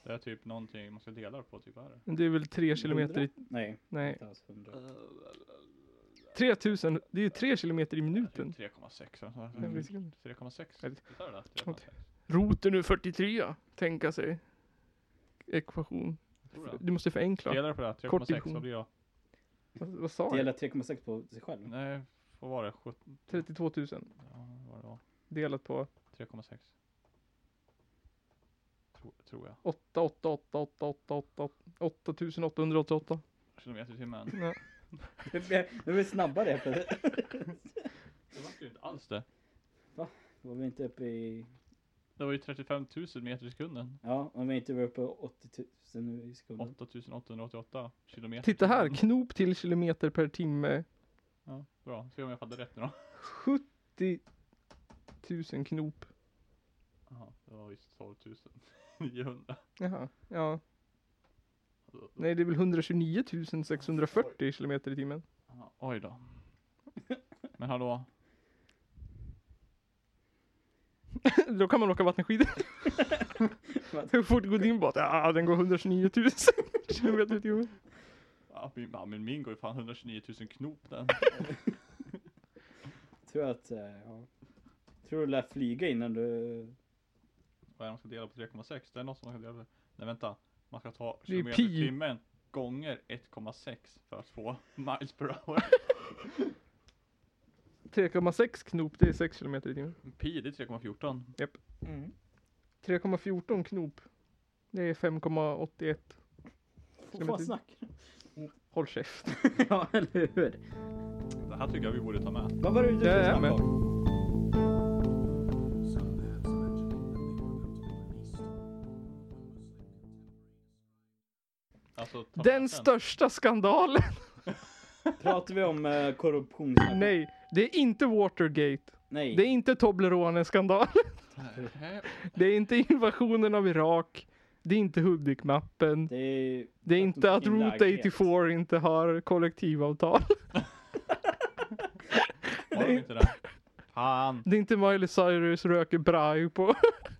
Speaker 1: Det är typ någonting man ska dela på, typ vad är det?
Speaker 2: Men Det är väl 3 kilometer i...
Speaker 3: Nej,
Speaker 2: Nej.
Speaker 3: inte alls 100.
Speaker 2: 3 000, det är ju 3 kilometer i
Speaker 1: Ja, typ
Speaker 2: minuten.
Speaker 1: 3,6 eller sånt där.
Speaker 3: Mm.
Speaker 2: Meter i sekunden.
Speaker 1: 3,6?
Speaker 2: Ja,
Speaker 1: Visst är det där?
Speaker 2: Roten ur 43, tänka sig. Ekvation.
Speaker 1: Tror jag.
Speaker 2: Du måste förenkla.
Speaker 1: Delar på det här,
Speaker 2: Kort
Speaker 1: 3,6 vad
Speaker 2: division.
Speaker 1: blir jag?
Speaker 2: Vad, vad sa jag?
Speaker 3: Dela 3,6 på sig själv.
Speaker 1: Nej, vad var det? 17?
Speaker 2: 32 000
Speaker 1: Ja, vad det var.
Speaker 2: delat på
Speaker 1: 3,6. Tror, tror jag.
Speaker 2: 8, 8, 8, 8, 8, 8, 8 888.
Speaker 1: Kilometer i timmen.
Speaker 2: Ja.
Speaker 3: Nu är vi snabbare helt plötsligt.
Speaker 1: Det var ju inte alls det.
Speaker 3: Var vi inte uppe i...
Speaker 1: Det var ju 35 000 meter i sekunden.
Speaker 3: Ja, om vi inte var uppe i 80 000 nu i sekunden.
Speaker 1: 8888 kilometer. i
Speaker 2: Titta här,
Speaker 1: timmen.
Speaker 2: knop till kilometer per timme.
Speaker 1: Ja, bra, se om jag fattade rätt nu då.
Speaker 2: 70 000 knop.
Speaker 1: Jaha, det var visst 12 900.
Speaker 2: Jaha, ja. Nej, det är väl 129 640 kilometer i timmen.
Speaker 1: Ja, oj då. Men hallå,
Speaker 2: Då kan man åka vattenskidor. Hur fort går din båt? Ja, den går 129 000 kilometer i timmen.
Speaker 1: ja, min, ja, men min går ju fan 129 000 knop den.
Speaker 3: Tror jag att... eh, Ja. Tror du lär flyga innan du...
Speaker 1: Vad är det man ska dela på 3,6? Det är något som man ska dela på. Nej vänta, man ska ta
Speaker 2: är ju
Speaker 1: kilometer i
Speaker 2: pi.
Speaker 1: timmen gånger 1,6 för att få miles per hour.
Speaker 2: 3,6 knop, det är 6 kilometer i timmen.
Speaker 1: Pi det är 3,14.
Speaker 3: Mm.
Speaker 2: 3,14 knop, det är 5,81.
Speaker 3: Vad fan snackar du?
Speaker 2: Håll käft.
Speaker 3: Ja, eller hur?
Speaker 1: Det här tycker jag vi borde ta med.
Speaker 3: Vad var det
Speaker 2: Jag
Speaker 3: du
Speaker 2: är
Speaker 3: snackade
Speaker 2: med.
Speaker 3: om?
Speaker 4: Some bands mentioning that they were meant to be released almost like contemporaries.
Speaker 1: Alltså, ta
Speaker 2: Den
Speaker 1: med
Speaker 2: största skandalen.
Speaker 3: Pratar vi om eh, korruption? snart?
Speaker 2: Nej, det är inte Watergate.
Speaker 3: Nej.
Speaker 2: Det är inte Toblerone-skandal.
Speaker 1: Nej,
Speaker 2: Det är inte invasionen av Irak. Det är inte Hudik-mappen.
Speaker 3: Det är...
Speaker 2: Det är
Speaker 3: Att de
Speaker 2: inte att
Speaker 3: fick in
Speaker 2: Route
Speaker 3: lägenhet.
Speaker 2: 84 inte har kollektivavtal.
Speaker 1: Har de inte det? Fan.
Speaker 2: Det är inte Miley Cyrus röker braj på,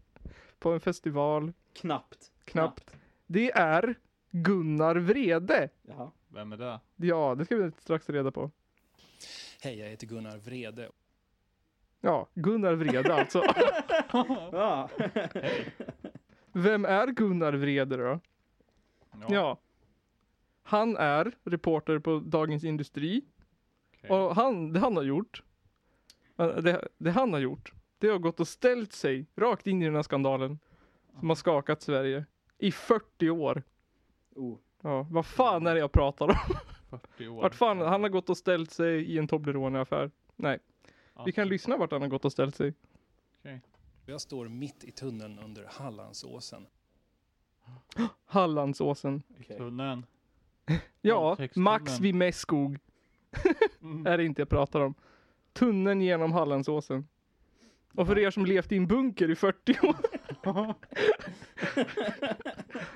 Speaker 2: på en festival.
Speaker 3: Knappt.
Speaker 2: Knappt. Det är Gunnar Vrede.
Speaker 3: Jaha.
Speaker 1: Vem är det?
Speaker 2: Ja, det ska vi strax reda på.
Speaker 5: Hej, jag heter Gunnar Vrede.
Speaker 2: Ja, Gunnar Vrede alltså.
Speaker 3: Ja.
Speaker 2: Vem är Gunnar Vrede då? Ja. Han är reporter på Dagens Industri.
Speaker 1: okej.
Speaker 2: Och han, det han har gjort, eh, det, det han har gjort, det har gått och ställt sig rakt in i den här skandalen som har skakat Sverige i 40 år.
Speaker 3: oh.
Speaker 2: Ja, vad fan är det jag pratar om?
Speaker 1: 40 år.
Speaker 2: Vart fan, han har gått och ställt sig i en Toblerone-affär.
Speaker 1: Ja,
Speaker 2: Vi kan
Speaker 1: okej.
Speaker 2: lyssna vart han har gått och ställt sig.
Speaker 5: Jag står mitt i tunneln under Hallandsåsen.
Speaker 2: Hallandsåsen.
Speaker 1: I tunneln.
Speaker 2: Ja,
Speaker 1: Våldtäktstunneln.
Speaker 2: Max vid Mässkog
Speaker 1: Mm.
Speaker 2: är det inte jag pratar om. Tunneln genom Hallandsåsen. Och för er som levt i en bunker i 40 år.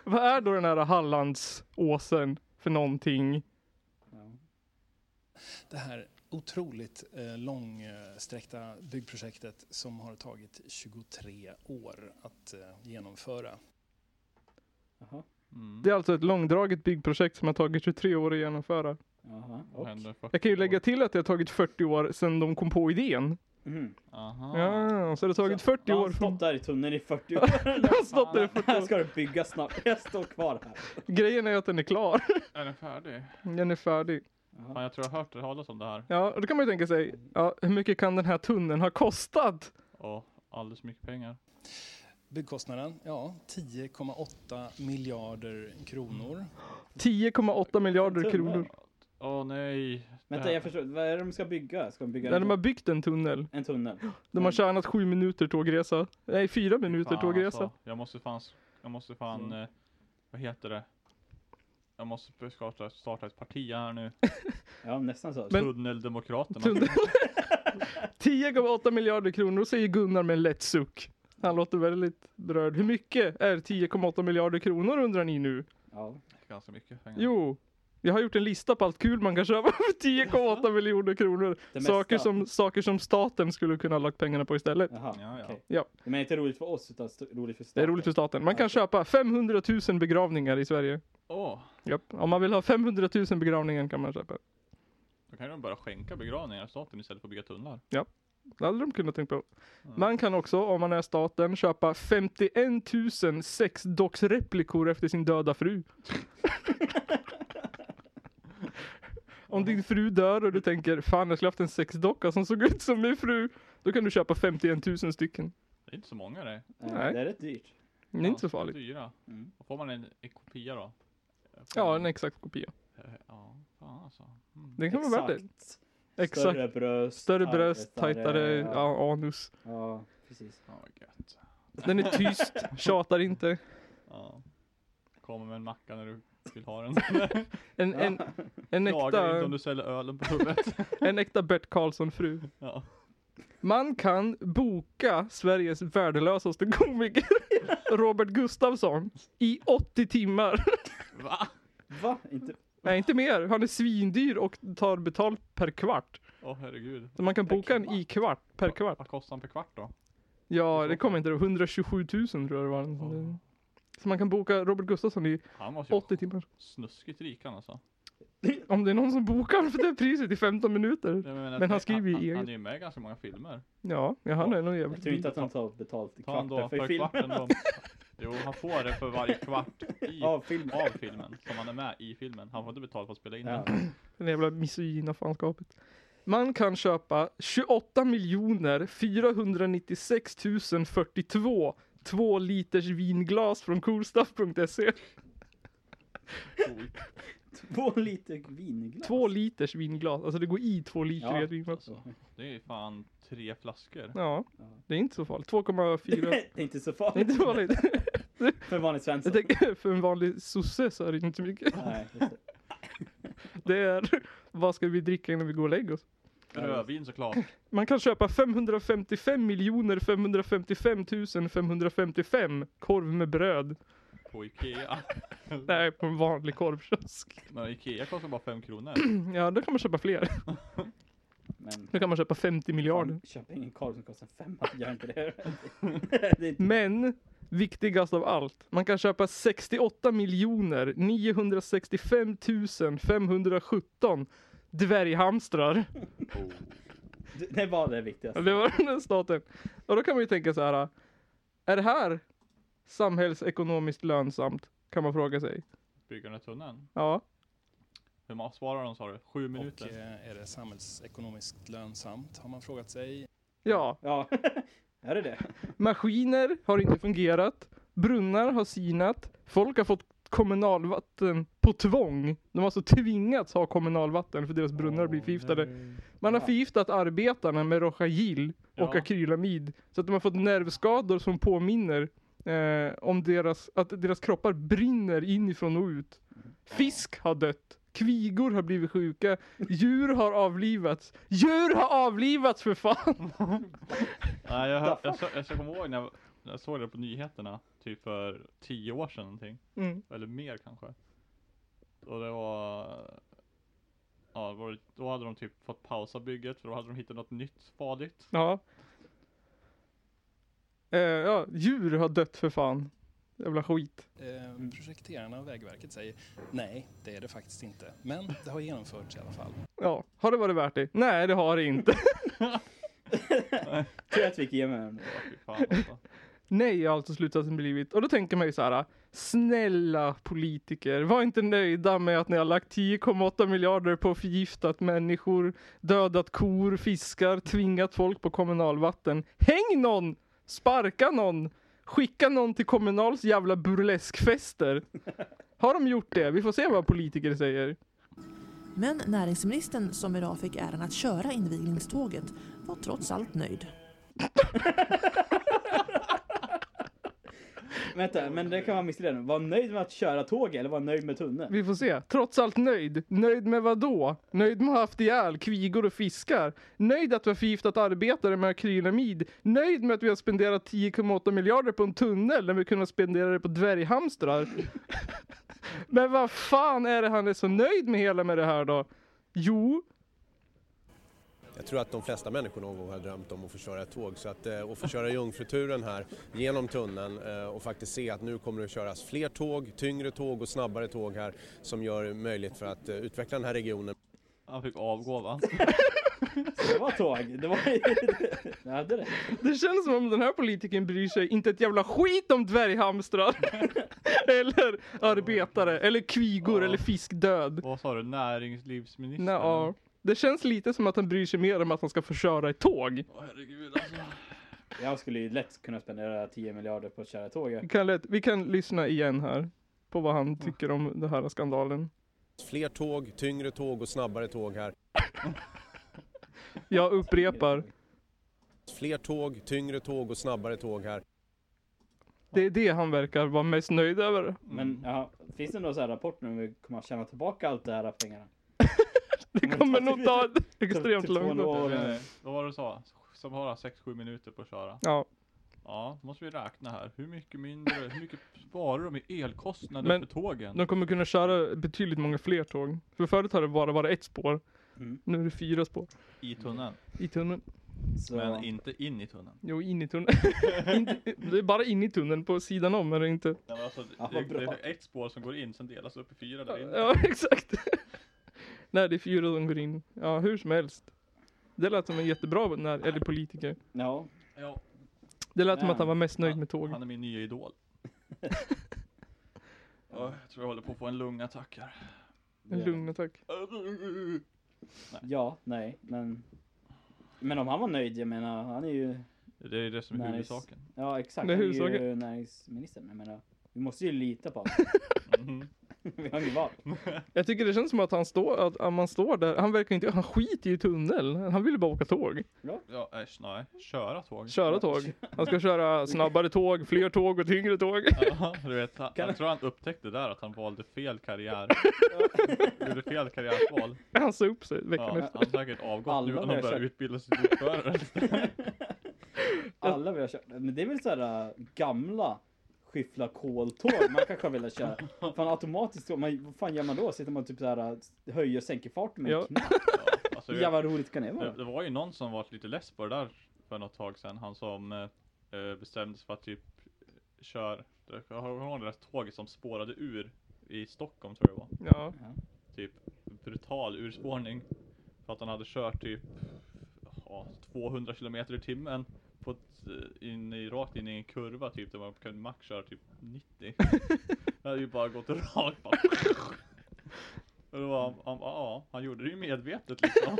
Speaker 2: Vad är då den här Hallandsåsen för någonting?
Speaker 3: Ja.
Speaker 5: Det här otroligt eh, långsträckta byggprojektet som har tagit 23 år att eh, genomföra.
Speaker 3: Jaha.
Speaker 1: Mm.
Speaker 2: Det är alltså ett långdraget byggprojekt som har tagit 23 år att genomföra.
Speaker 3: Jaha.
Speaker 1: Vad
Speaker 3: Och.
Speaker 1: händer 40
Speaker 2: Jag kan ju
Speaker 1: år?
Speaker 2: lägga till att det har tagit 40 år sedan de kom på idén.
Speaker 3: Mhm.
Speaker 1: Aha.
Speaker 2: Ja, så det har tagit 40
Speaker 3: Jag
Speaker 2: år
Speaker 3: har
Speaker 2: från...
Speaker 3: stått där i tunneln i 40 år.
Speaker 2: De har stått där i 40
Speaker 3: Här
Speaker 2: år.
Speaker 3: ska det byggas snabbt. Jag står kvar här.
Speaker 2: Grejen är att den är klar.
Speaker 1: Är den färdig?
Speaker 2: Den är färdig.
Speaker 1: Fan, jag tror jag har hört det talas om det här.
Speaker 2: Ja, och då kan man ju tänka sig, ja, hur mycket kan den här tunneln ha kostat?
Speaker 1: Åh, alldeles för mycket pengar.
Speaker 5: Byggkostnaden, ja, 10,8 miljarder kronor.
Speaker 1: Mm,
Speaker 2: 10,8 miljarder
Speaker 3: Tunnel.
Speaker 2: kronor.
Speaker 1: Åh nej.
Speaker 3: Vänta, jag förstår. Vad är det de ska bygga? Ska de bygga
Speaker 2: När
Speaker 3: en,
Speaker 2: de har byggt en tunnel.
Speaker 3: en tunnel?
Speaker 2: De har tjänat sju minuter tågresa. Nej, fyra minuter
Speaker 3: Ah,
Speaker 1: Fan,
Speaker 2: tågresa.
Speaker 1: alltså. Jag måste fan, jag måste fan, eh, vad heter det? Jag måste starta, starta ett parti här nu.
Speaker 3: Ja, nästan så.
Speaker 2: Men-
Speaker 1: Tunneldemokraterna.
Speaker 2: Tunnel. 10,8 miljarder kronor säger Gunnar med en lätt suck. Han låter väldigt berörd. Hur mycket är 10,8 miljarder kronor undrar ni nu?
Speaker 3: Ja.
Speaker 1: Ganska mycket pengar.
Speaker 2: Jo, jag har gjort en lista på allt kul man kan köpa för 10,8 miljoner kronor.
Speaker 3: Det mesta.
Speaker 2: Saker som, saker som staten skulle kunna ha lagt pengarna på istället.
Speaker 3: Jaha,
Speaker 1: Ja, ja.
Speaker 3: okej.
Speaker 2: Ja.
Speaker 3: Men det är inte roligt för oss, utan st- roligt för
Speaker 2: Det
Speaker 3: staten.
Speaker 2: är roligt för staten. Man kan
Speaker 3: Okej.
Speaker 2: köpa 500 000 begravningar i Sverige.
Speaker 1: Åh,
Speaker 2: Japp. Om man vill ha 500 000 begravningar kan man köpa.
Speaker 1: då kan de bara skänka begravningar av staten istället för att bygga tunnlar.
Speaker 2: Ja. Det hade de kunnat tänka på. Man kan också, om man är staten, köpa 51 000 sexdocksreplikor efter sin döda fru. om din fru dör och du tänker fan jag skulle haft en sexdocka som såg ut som min fru. Då kan du köpa 51 000 stycken.
Speaker 1: Det är inte så många det.
Speaker 3: Eh,
Speaker 2: Nej.
Speaker 3: Det är rätt dyrt.
Speaker 2: Det är inte så farligt.
Speaker 1: Dyra.
Speaker 3: Mm.
Speaker 1: Och får man en, en kopia då? Får
Speaker 2: Ja,
Speaker 1: man-
Speaker 2: en exakt kopia.
Speaker 1: Eh, Ja, fan alltså. Mm.
Speaker 2: Det kan vara värt
Speaker 3: Exakt.
Speaker 2: det. Exakt.
Speaker 3: Större bröst.
Speaker 2: Större bröst,
Speaker 3: tajtare,
Speaker 2: tajtare
Speaker 3: Ja,
Speaker 2: ja, anus.
Speaker 3: ja precis.
Speaker 1: Ja, vad gött.
Speaker 2: Den är tyst, tjatar inte.
Speaker 1: Ja. Kommer med en macka när du vill ha den.
Speaker 2: En, en, en,
Speaker 1: Klagar inte om
Speaker 2: äkta,
Speaker 1: du säljer ölen på huvudet.
Speaker 2: en äkta Bert Karlsson-fru.
Speaker 1: Ja.
Speaker 2: Man kan boka Sveriges värdelösaste komiker, Robert Gustafsson, i 80 timmar.
Speaker 1: Va?
Speaker 3: Va? Inte
Speaker 2: Nej, inte mer. Han är svindyr och tar betalt per kvart.
Speaker 1: Åh herregud.
Speaker 2: Så man kan boka en i kvart, per kvart.
Speaker 1: Vad kostar den per kvart då?
Speaker 2: Ja, det kommer inte. 127 000 tror jag det var. Så man kan boka Robert Gustafsson i
Speaker 1: Han måste ju
Speaker 2: 80
Speaker 1: vara
Speaker 2: timmar.
Speaker 1: snuskigt rik han alltså.
Speaker 2: Om det är någon som bokar för det priset i 15 minuter.
Speaker 1: Jag menar,
Speaker 2: Men han skriver ju
Speaker 1: han, han,
Speaker 2: eget.
Speaker 1: är ju med i ganska många filmer.
Speaker 2: Ja, ja han är nog
Speaker 3: Jag tror
Speaker 2: jävligt
Speaker 3: inte att han tar betalt i
Speaker 1: Ta han
Speaker 3: kvarten
Speaker 1: då
Speaker 3: för
Speaker 1: per kvarten då.
Speaker 3: filmen.
Speaker 1: Jo, han får det för varje kvart i,
Speaker 3: Av filmen.
Speaker 1: av filmen. Som han är med i filmen. Han får inte betalt för att spela in
Speaker 3: Ja.
Speaker 1: den.
Speaker 2: Den jävla misogyna fanskapet. Man kan köpa 28 miljoner 496 042 två liters vinglas från coolstuff.se.
Speaker 1: Coolt.
Speaker 3: Två liter vinglas.
Speaker 2: Två alltså. liters vinglas, alltså det går i två liter
Speaker 3: Ja,
Speaker 2: i ett vinglas.
Speaker 3: Så.
Speaker 1: Det är ju fan tre flaskor.
Speaker 2: Ja,
Speaker 3: Ja.
Speaker 2: det är inte så farligt. 2,4.
Speaker 3: det är inte så
Speaker 2: Det är inte
Speaker 3: farligt
Speaker 2: så farligt.
Speaker 3: för en vanlig svensson.
Speaker 2: Jag tänker, för en vanlig sosse så är det inte mycket.
Speaker 3: Nej, just det.
Speaker 2: Det är, vad ska vi dricka innan vi går och lägger oss?
Speaker 1: Rödvin såklart.
Speaker 2: Man kan köpa 555 miljoner 555 555 korv med bröd.
Speaker 1: På Ikea.
Speaker 2: Nej, på en vanlig korvkiosk.
Speaker 1: Men Ikea kostar bara fem kronor.
Speaker 2: Ja, då kan man köpa fler.
Speaker 3: Men
Speaker 2: Då kan man köpa 50 miljarder.
Speaker 3: fan, köp ingen korv som kostar fem Gör inte det. det är inte
Speaker 2: Men viktigast av allt, man kan köpa 68 miljoner 965 517 dvärghamstrar.
Speaker 1: Oh.
Speaker 3: Det- Det var det
Speaker 2: Ja,
Speaker 3: viktigaste.
Speaker 2: Det var den här staten. Och då kan man ju tänka så här. Är det här samhällsekonomiskt lönsamt? Kan man fråga sig.
Speaker 1: Bygger den här tunneln.
Speaker 2: Ja,
Speaker 1: Hur många svarar de sa du? Sju
Speaker 5: Och
Speaker 1: minuter?
Speaker 5: eh, är det samhällsekonomiskt lönsamt har man frågat sig.
Speaker 2: ja.
Speaker 3: Ja, är det det?
Speaker 2: Maskiner har inte fungerat. Brunnar har sinat. Folk har fått kommunalvatten på tvång. De har alltså tvingats ha kommunalvatten för deras brunnar blir förgiftade. Man har
Speaker 3: Ja.
Speaker 2: förgiftat arbetarna med Rojajil och
Speaker 1: Ja.
Speaker 2: akrylamid. Så att de har fått nervskador som påminner eh, om deras, att deras kroppar brinner inifrån och ut. Fisk har dött. Kvigor har blivit sjuka. Djur har avlivats. Djur har avlivats för fan!
Speaker 1: Nej, jag, hör, jag, så, jag så kommer ihåg när jag, när jag såg det på nyheterna. Typ för tio år sedan någonting.
Speaker 2: Mm.
Speaker 1: Eller mer kanske. Och det var... Ja, det var, då hade de typ fått pausa bygget för då hade de hittat något nytt farligt.
Speaker 2: Ja. Eh, ja, djur har dött för fan. Jävla skit.
Speaker 1: Mm.
Speaker 5: Eh, projekterarna och Vägverket säger nej, det är det faktiskt inte. Men det har genomförts i alla fall.
Speaker 2: Ja, har det varit värt det? Nej, det har det inte.
Speaker 3: Tur att vi gick igenom den.
Speaker 1: Ja, fy fan alltså.
Speaker 2: Nej, har alltså slutsatsen blivit. Och då tänker man ju så här, snälla politiker, var inte nöjda med att ni har lagt 10,8 miljarder på förgiftat människor, dödat kor, fiskar, tvingat folk på kommunalvatten. Häng någon! Sparka någon! Skicka någon till Kommunals jävla burleskfester. Har de gjort det? Vi får se vad politiker säger.
Speaker 6: Men näringsministern, som idag fick äran att köra invigningståget, var trots allt nöjd.
Speaker 3: Vänta, men det kan vara missledande. Var nöjd med att köra tåget eller var nöjd med tunneln?
Speaker 2: Vi får se. Trots allt nöjd. Nöjd med vad då? Nöjd med att ha haft ihjäl kvigor och fiskar? Nöjd att vi har förgiftat arbetare med akrylamid? Nöjd med att vi har spenderat 10,8 miljarder på en tunnel när vi kunde spendera det på dvärghamstrar? Men vad fan är det han är så nöjd med hela med det här då? Jo,
Speaker 7: Jag tror att de flesta människor någon gång har drömt om att få köra ett tåg så att, eh, att få köra Jungfruturen här genom tunneln eh, och faktiskt se att nu kommer det att köras fler tåg, tyngre tåg och snabbare tåg här som gör det möjligt för att eh, utveckla den här regionen.
Speaker 1: Han fick avgå va?
Speaker 3: Så det var tåg. Det var... Jag hade det.
Speaker 2: Det känns som om den här politikern bryr sig inte ett jävla skit om dvärghamstrar. eller arbetare, eller kvigor,
Speaker 1: Ja.
Speaker 2: eller fiskdöd.
Speaker 1: Vad sa du? Näringslivsministern?
Speaker 2: Nå, ja. Det känns lite som att han bryr sig mer om att han ska förstöra ett tåg.
Speaker 1: Åh, herregud alltså.
Speaker 3: Jag skulle ju lätt kunna spendera 10 miljarder på att köra tåget.
Speaker 2: Vi kan, lätt, vi kan lyssna igen här på vad han tycker om den här skandalen.
Speaker 7: Fler tåg, tyngre tåg och snabbare tåg här.
Speaker 2: Jag upprepar,
Speaker 7: Fler tåg, tyngre tåg och snabbare tåg här.
Speaker 2: det är det han verkar vara mest nöjd över.
Speaker 3: Men ja, finns det någon sån här rapport nu om vi kommer att tjäna tillbaka allt det här pengarna?
Speaker 2: Det kommer nog ta extremt
Speaker 3: Mm. Typ två
Speaker 2: lång tid.
Speaker 3: år.
Speaker 1: Eh, Vad var det du sa? Som har 6-7 minuter på att köra.
Speaker 2: Ja,
Speaker 1: Ja, då måste vi räkna här. Hur mycket mindre, hur mycket sparar de i elkostnader
Speaker 2: Men
Speaker 1: för tågen?
Speaker 2: de kommer kunna köra betydligt många fler tåg. För förut har det bara varit ett spår.
Speaker 3: Mm.
Speaker 2: Nu är det fyra spår
Speaker 1: I tunneln.
Speaker 2: i tunneln.
Speaker 3: Så,
Speaker 1: Men inte in i tunneln.
Speaker 2: Jo, in i tunneln. inte, det är bara in i tunneln, på sidan om är det inte.
Speaker 1: Nej, men alltså, det,
Speaker 3: Ja,
Speaker 1: det,
Speaker 3: vad bra.
Speaker 1: är ett spår som går in, sen delas upp i fyra där inne.
Speaker 2: Ja, exakt. Nej, det är fyra som går in. Ja, hur som helst. Det lät som en jättebra när, eller politiker.
Speaker 3: ja,
Speaker 1: Ja,
Speaker 2: Det lät som
Speaker 3: Ja.
Speaker 2: att han var mest nöjd med tåg.
Speaker 1: han är min nya idol. ja, jag tror jag håller på att få en lungattack här.
Speaker 2: En lugn attack.
Speaker 3: ja, nej, men. Men om han var nöjd, jag menar, han är ju,
Speaker 1: Det är det som är
Speaker 3: Nice.
Speaker 1: huvudsaken.
Speaker 3: ja exakt,
Speaker 2: Det är
Speaker 3: han är ju
Speaker 2: huvudsaken.
Speaker 3: näringsminister. Men jag menar, vi måste ju lita på honom.
Speaker 1: Mhm.
Speaker 3: vi har inget val.
Speaker 2: Jag tycker det känns som att han står, att, att man står där. Han verkar inte, han skiter ju i tunnel. Han vill ju bara åka tåg.
Speaker 1: Ja, äsch, nej. Köra tåg.
Speaker 2: Köra tåg. Han ska köra snabbare tåg, fler tåg och tyngre tåg.
Speaker 1: Ja, du vet, han, jag tror han upptäckte där att han valde fel karriär. Gjorde fel karriärsval.
Speaker 2: Han sa upp sig
Speaker 1: Ja,
Speaker 2: veckan
Speaker 1: han
Speaker 2: efter.
Speaker 1: har säkert avgått
Speaker 3: Alla
Speaker 1: nu när
Speaker 3: börjar
Speaker 1: han börjar
Speaker 3: köra.
Speaker 1: utbilda sig till lokförare.
Speaker 3: Alla vi har kört, men det är väl sådär äh, gamla skyffla koltåg man kanske vill köra. Fan automatiskt tåg, man, vad fan gör man då? Sitter man typ såhär äh, höjer och sänker farten med
Speaker 2: Ja.
Speaker 3: en knapp?
Speaker 1: Ja, alltså,
Speaker 3: Ja, vad roligt kan det
Speaker 1: Det,
Speaker 3: vara?
Speaker 1: det var ju någon som var lite less på det där för något tag sedan. Han som eh, eh, bestämde sig för att typ kör, jag kommer ihåg det där tåget som spårade ur i Stockholm tror jag det var.
Speaker 2: Ja.
Speaker 1: Typ brutal urspårning. För att han hade kört typ ja, 200 kilometer i timmen. På ett, eh, in i, rakt in i en kurva typ där man kunde max köra typ 90. det hade ju bara gått rakt bara. Och då var han, han, bara, ja, han gjorde det ju medvetet liksom.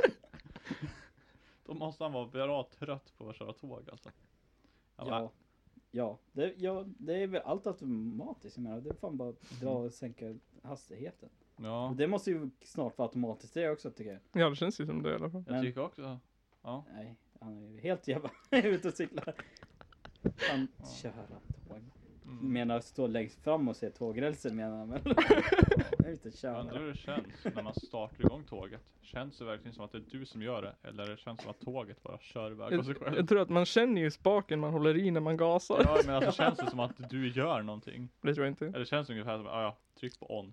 Speaker 1: Då måste han vara bra trött på att köra tåg alltså. Han bara,
Speaker 3: Ja. Ja, det, ja, det är väl allt automatiskt. Jag menar, det är fan bara att dra och sänka hastigheten.
Speaker 1: ja.
Speaker 3: Och det måste ju snart vara automatiskt det också tycker jag.
Speaker 2: ja, det känns ju som det i alla fall.
Speaker 1: Jag
Speaker 3: men-
Speaker 1: tycker också. Ja.
Speaker 3: Nej, han är ju helt jävla ute och cyklar. Han köra tåg.
Speaker 1: Mm.
Speaker 3: Menar stå längst fram och se tågrälsen menar han väl? Jag vet inte
Speaker 1: Jag undrar
Speaker 3: köra.
Speaker 1: hur det känns när man startar igång tåget. Känns det verkligen som att det är du som gör det? Eller det känns som att tåget bara kör iväg av sig
Speaker 2: Jag,
Speaker 1: själv?
Speaker 2: jag tror att man känner ju spaken man håller i när man gasar.
Speaker 1: Ja men alltså känns det som att du gör någonting?
Speaker 2: Det tror jag inte.
Speaker 1: Eller känns det ungefär som, ah, ja, tryck på on.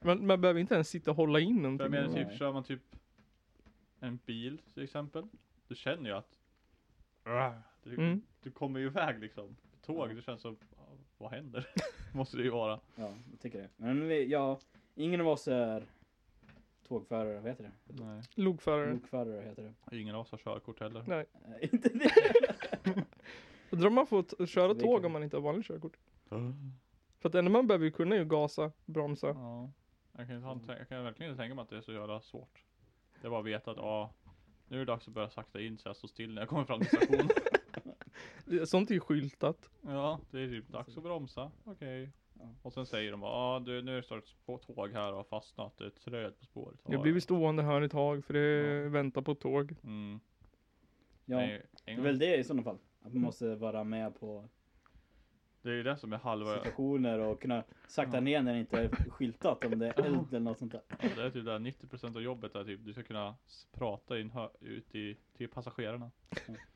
Speaker 2: Man, man behöver inte ens sitta och hålla in
Speaker 1: För jag
Speaker 2: någonting.
Speaker 1: menar typ,
Speaker 3: Nej.
Speaker 1: kör man typ en bil till exempel. Du känner ju att du,
Speaker 2: Mm.
Speaker 1: du kommer ju iväg liksom. Tåg, det känns som, ah, vad händer? Måste det ju vara.
Speaker 3: Ja, jag tycker det. Men vi, ja, ingen av oss är tågförare, vad heter det?
Speaker 1: Nej.
Speaker 2: Lokförare.
Speaker 3: Lokförare heter det.
Speaker 1: Ingen av oss har körkort heller.
Speaker 2: Nej.
Speaker 3: Eh, inte det.
Speaker 2: Jag tror man får t- köra
Speaker 3: Det
Speaker 2: tåg
Speaker 3: kan-
Speaker 2: om man inte har vanligt körkort.
Speaker 1: Ah.
Speaker 2: För att det enda man behöver ju kunna är ju gasa, bromsa.
Speaker 1: Ja. Jag kan, inte, tänka- jag kan verkligen inte tänka mig att det är så jävla svårt. Det är bara att veta att ja, nu är det dags att börja sakta in så jag står still när jag kommer fram till stationen.
Speaker 2: Sånt är ju skyltat.
Speaker 1: ja, det är typ dags att bromsa. Okej.
Speaker 3: Ja.
Speaker 1: Och sen säger de bara, ah, du, nu står det ett spå- tåg här och har fastnat. Det är ett träd på spåret.
Speaker 2: Jag
Speaker 1: Ja,
Speaker 2: blir stående här ett tag för det
Speaker 1: Ja.
Speaker 2: väntar på tåg.
Speaker 1: ja. Mm.
Speaker 3: Ja,
Speaker 1: Nej, Mm.
Speaker 3: det
Speaker 1: en
Speaker 3: är
Speaker 1: gång.
Speaker 3: väl det i sådana fall. Att man måste vara med på
Speaker 1: Det är ju det som är halva, ja,
Speaker 3: situationer och kunna sakta ner när det inte är skyltat om det är eld eller något sånt där.
Speaker 1: det är typ där 90% av jobbet är typ, du ska kunna s- prata in hö- ut i, till passagerarna.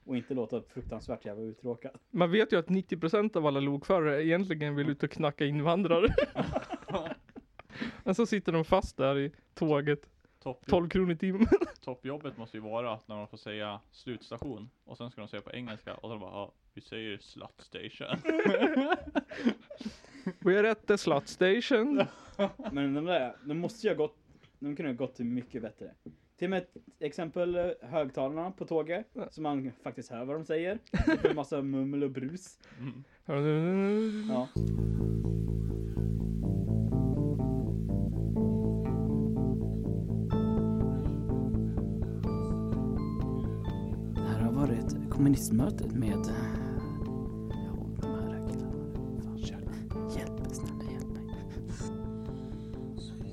Speaker 3: Och inte låta fruktansvärt jävla uttråkad.
Speaker 2: Man vet ju att 90% av alla lokförare egentligen vill ut och knacka invandrare. Men så sitter de fast där i tåget,
Speaker 1: Toppjobb.
Speaker 2: 12 kronor i timmen.
Speaker 1: Toppjobbet måste ju vara att när de får säga slutstation och sen ska de säga på engelska och så de bara ja, vi säger slut station.
Speaker 2: We are at the slut station.
Speaker 3: Men de där, de måste ju ha gått De kunde ha gått till mycket bättre. Till och med ett exempel eh, högtalarna på tåget,
Speaker 2: Ja.
Speaker 3: så man faktiskt hör vad de säger. Det är massa mummel och brus. Ja. Det här har varit kommunistmötet med... eh, Ja, de här killarna. Fan, kör. Hjälp, snälla hjälp mig.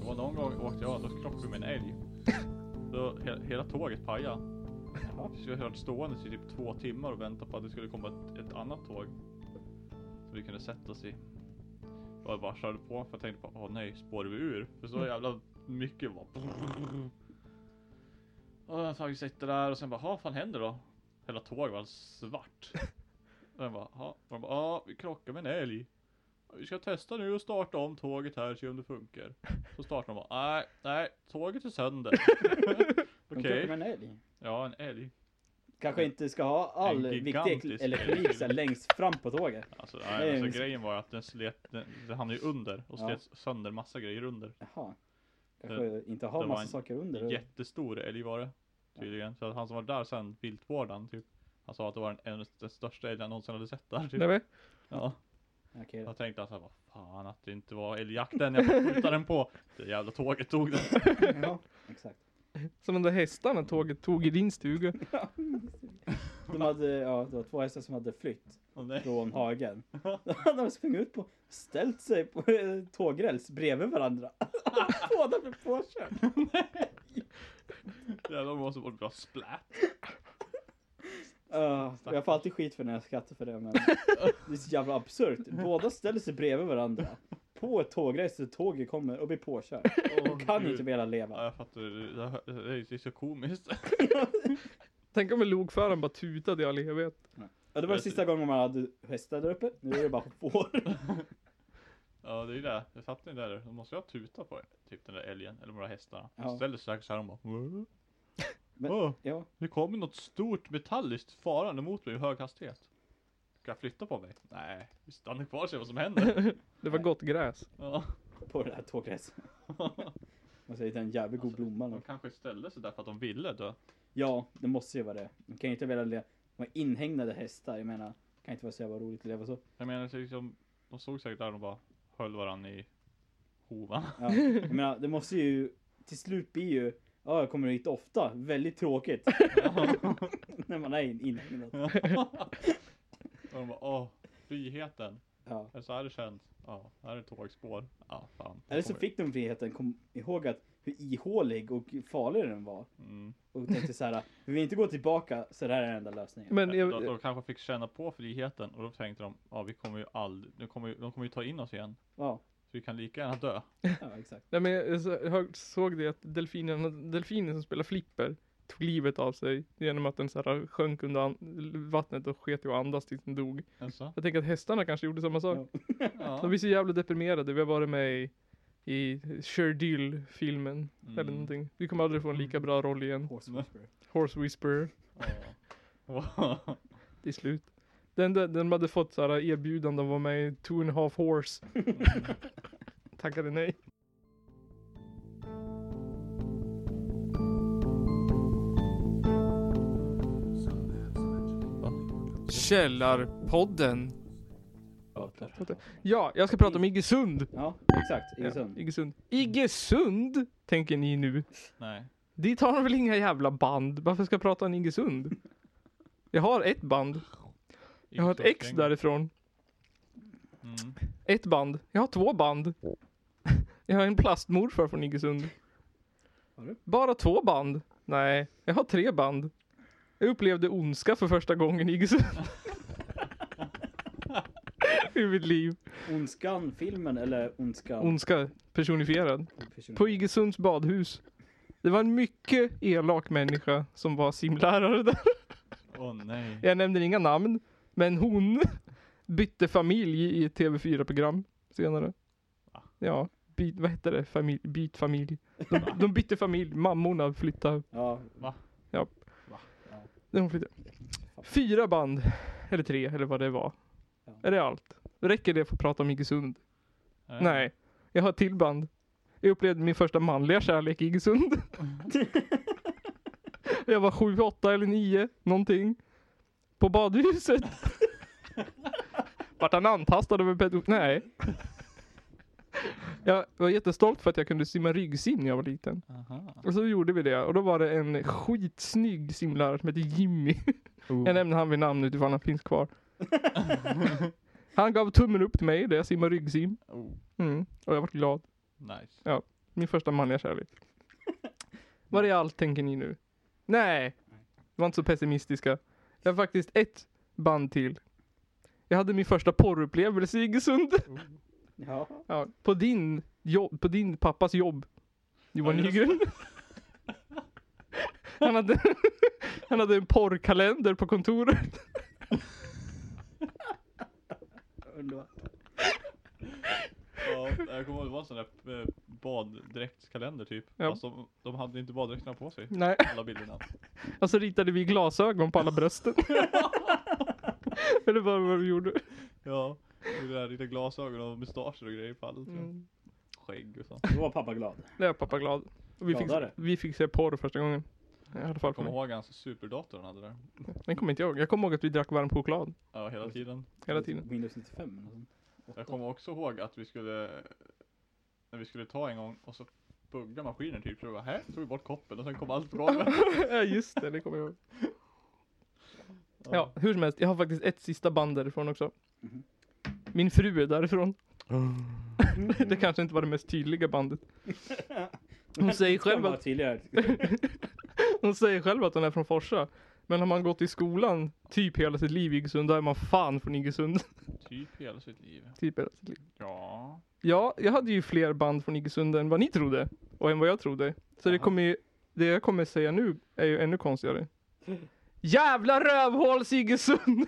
Speaker 1: Och någon gång åkte jag, då krockade jag med en älg. Då he- hela tåget pajade. Så jag höll stående i typ två timmar och väntade på att det skulle komma ett, ett annat tåg. Som vi kunde sätta oss i. Och jag bara körde på för jag tänkte på, åh nej, spårar vi ur? För så jävla mycket var. Och jag tagit sitter där och sen bara, "Ha, vad fan händer då? Hela tåget var svart. Och jag bara, "Ha." och de bara, ja, vi krockar med en älg. Vi ska testa nu och starta om tåget här, se om det funkar. Så startar de bara, nej, nej, tåget är sönder.
Speaker 3: De
Speaker 1: Okej,
Speaker 3: krockar med en älg.
Speaker 1: ja en älg.
Speaker 3: Kanske inte ska ha all
Speaker 1: En
Speaker 3: viktig
Speaker 1: gigantisk
Speaker 3: ek- elektronik så här längst fram på tåget.
Speaker 1: Alltså,
Speaker 3: Det är
Speaker 1: nej,
Speaker 3: en-
Speaker 1: alltså grejen var ju att den slet, den, den hamnade ju under och
Speaker 3: Ja.
Speaker 1: slet sönder massa grejer under.
Speaker 3: Jaha. Kanske inte ha
Speaker 1: det var
Speaker 3: massa
Speaker 1: en
Speaker 3: saker under.
Speaker 1: Jättestor älg var det, tydligen. Så att han som var där sen, viltvårdaren, typ. Han sa att det var den, en, den största älgen han någonsin hade sett där. Typ.
Speaker 2: Nej, men.
Speaker 1: Ja.
Speaker 3: Okej.
Speaker 1: Jag tänkte alltså, vad fan att det inte var älgjakten jag skjutade den på. Det jävla tåget tog den.
Speaker 3: Ja, exakt.
Speaker 2: Som de där hästarna tåget tog i din stuga.
Speaker 3: De hade, ja, det var två hästar som hade flytt
Speaker 1: Åh, nej.
Speaker 3: från hagen. Då hade de sprungit ut på, ställt sig på eh, tågräls bredvid varandra. Båda blev påkörda.
Speaker 1: Jävlar måste vara bra splatt.
Speaker 3: Ja, och jag får alltid skit för när jag skrattar för det men det är så jävla absurt. Båda ställer sig bredvid varandra på ett tågräls där tåget kommer och blir påkörd. De kan ju inte vilja
Speaker 1: Ja,
Speaker 3: leva.
Speaker 1: jag fattar. Det, det, här- det, är ju- det är så komiskt.
Speaker 2: Tänk om en lokföraren bara tutade i all evighet.
Speaker 3: Ja, det var sista gången man hade hästar där uppe. Nu är det bara får.
Speaker 1: Ja, det är ju det. Jag satte den där. Då måste jag tuta på typ den där älgen eller några hästarna.
Speaker 3: Ja.
Speaker 1: Ställer sig säkert så här och bara. "Wah."
Speaker 3: Men-
Speaker 1: Åh,
Speaker 3: Ja,
Speaker 1: nu kommer något stort metalliskt farande mot mig i hög hastighet. Ska jag flytta på mig? Nej, vi stannar kvar och ser vad som händer.
Speaker 2: Det var gott gräs.
Speaker 1: Ja.
Speaker 3: på det här tågräset. Man säger en jävligt
Speaker 2: Alltså,
Speaker 3: god blomma.
Speaker 1: De
Speaker 3: nu.
Speaker 1: kanske ställde sig där för att de ville dö.
Speaker 3: Ja, det måste ju vara det. De kan ju inte vilja leva. De har inhägnade hästar. Jag menar, det kan inte vara så jävla roligt att leva så.
Speaker 1: Jag menar det är liksom, de såg säkert där och bara höll varandra i hovan.
Speaker 3: Ja, jag menar, det måste ju till slut bli ju, ja jag kommer hit ofta, väldigt tråkigt. När man är in- inhägnad.
Speaker 1: Och de bara åh, friheten.
Speaker 3: Ja.
Speaker 1: Är det så här det känns? Ja, här är tågspår. Ja, fan.
Speaker 3: Eller så fick de friheten, kom ihåg att hur ihålig och farlig den var.
Speaker 1: Mm.
Speaker 3: Och tänkte så här, vi vill inte gå tillbaka så det här är den enda lösningen.
Speaker 2: Men
Speaker 1: De,
Speaker 2: jag,
Speaker 1: de kanske fick känna på friheten och då tänkte de, ja vi kommer ju aldrig, de kommer ju, de kommer ju ta in oss igen.
Speaker 3: Ja,
Speaker 1: Så vi kan lika gärna dö.
Speaker 3: ja exakt.
Speaker 2: nej, men jag så- jag såg det att delfinen, delfinen som spelar flipper tog livet av sig genom att den så här sjönk under an- vattnet och sket i att andas tills den dog.
Speaker 1: Alltså,
Speaker 2: Jag tänker att hästarna kanske gjorde samma sak.
Speaker 1: ja.
Speaker 2: De blir så jävla deprimerade. Vi har varit med i, i Sherdill-filmen. Eller
Speaker 1: Mm.
Speaker 2: någonting. Vi kommer aldrig få en lika bra roll igen.
Speaker 3: Horse whisperer.
Speaker 2: Horse Whisperer.
Speaker 1: Ja.
Speaker 2: Det är slut. Den, den, den hade fått så här erbjudande att vara med i Two and a half Horse. Tackade nej. Källarpodden. Ja, jag ska prata om Iggesund.
Speaker 3: Ja, exakt. Iggesund.
Speaker 2: Ja, Iggesund. Iggesund, tänker ni nu.
Speaker 1: Nej.
Speaker 2: Dit har de väl inga jävla band? Varför ska jag prata om Iggesund? Jag har ett band. Jag har ett ex därifrån.
Speaker 1: Mm.
Speaker 2: Ett band. Jag har två band. Jag har en plastmorfar från Iggesund.
Speaker 3: Har du?
Speaker 2: Bara två band? Nej, jag har tre band. Jag upplevde ondska för första gången i Iggesund. I mitt liv.
Speaker 3: Ondskan filmen eller Ondskan?
Speaker 2: Ondska personifierad.
Speaker 3: personen?
Speaker 2: På Iggesunds badhus. Det var en mycket elak människa som var simlärare där.
Speaker 1: Mm. Åh nej.
Speaker 2: Jag nämner inga namn, men hon bytte familj i ett TV4-program senare. Ja, byt, vad hette det? Familj, byt familj. De, de bytte familj, mammorna flyttade.
Speaker 3: Ja,
Speaker 2: De flyttade. Fyra band, eller tre, eller vad det var.
Speaker 3: Ja.
Speaker 2: Är det allt? Räcker det för att prata om Iggesund? Nej, jag har ett till band. Jag upplevde min första manliga kärlek i Iggesund. jag var sju, åtta eller nio, någonting. På badhuset. Vart han antastad över Petter? Nej. Jag var jättestolt för att jag kunde simma ryggsim när jag var liten. Och så gjorde vi det och då var det en skitsnygg simlärare som hette Jimmy. Jag nämner han vid namn utifrån han finns kvar. han gav tummen upp till mig där jag simmar ryggsim.
Speaker 1: Oh,
Speaker 2: Mm. Och jag vart glad.
Speaker 1: nice.
Speaker 2: Min första manliga kärlek. Var är allt tänker ni nu? Nej, var inte så pessimistiska. Jag har faktiskt ett band till. Jag hade min första porrupplevelse i Iggesund.
Speaker 3: Ja.
Speaker 2: Ja, på din jobb, på din pappas jobb. Johan
Speaker 1: Ja, just det.
Speaker 2: Nygren. Han hade, han hade en porrkalender på kontoret.
Speaker 3: Underbart.
Speaker 1: Ja, jag kommer ihåg det var en sån där eh, baddräktskalender typ.
Speaker 2: Ja.
Speaker 1: Fast de, de hade inte baddräkterna på sig.
Speaker 2: Nej,
Speaker 1: Alla bilderna.
Speaker 2: och så ritade vi glasögon på alla brösten. Eller vad vad vi gjorde.
Speaker 1: Ja. Och det där lite glasögon och mustascher och grejer på allt.
Speaker 2: Mm.
Speaker 1: Skägg och sånt.
Speaker 3: Då var pappa glad.
Speaker 2: Det är pappa glad. Och vi, fick,
Speaker 3: Gladare.
Speaker 2: vi fick se porr första gången. I alla fall
Speaker 1: Jag
Speaker 2: för
Speaker 1: kommer
Speaker 2: mig.
Speaker 1: ihåg hans superdator han hade där.
Speaker 2: Den kommer inte jag ihåg. Jag kommer ihåg att vi drack varm choklad
Speaker 1: Ja, hela tiden.
Speaker 2: hela tiden.
Speaker 3: Windows 95 eller något sånt.
Speaker 1: Jag kommer också ihåg att vi skulle, när vi skulle ta en gång och så buggade maskinen typ. Så vi bara, här tog vi bort koppen och sen kom allt på golvet.
Speaker 2: ja just det, det kommer jag ihåg. Ja, hur som helst. Jag har faktiskt ett sista band därifrån också.
Speaker 3: Mhm.
Speaker 2: Min fru är därifrån. det kanske inte var det mest tydliga bandet. Hon säger själv
Speaker 3: Kan vara
Speaker 2: att,
Speaker 3: tydligare.
Speaker 2: hon säger själv att hon är från Forsa. Men har man gått i skolan typ hela sitt liv i Iggesund, då är man fan från Iggesund.
Speaker 1: Typ hela sitt liv.
Speaker 2: typ hela sitt liv.
Speaker 1: Ja.
Speaker 2: Ja, jag hade ju fler band från Iggesund än vad ni trodde. Och än vad jag trodde. Så det kommer ju, det jag kommer säga nu är ju ännu konstigare. Jävla rövhåls Iggesund!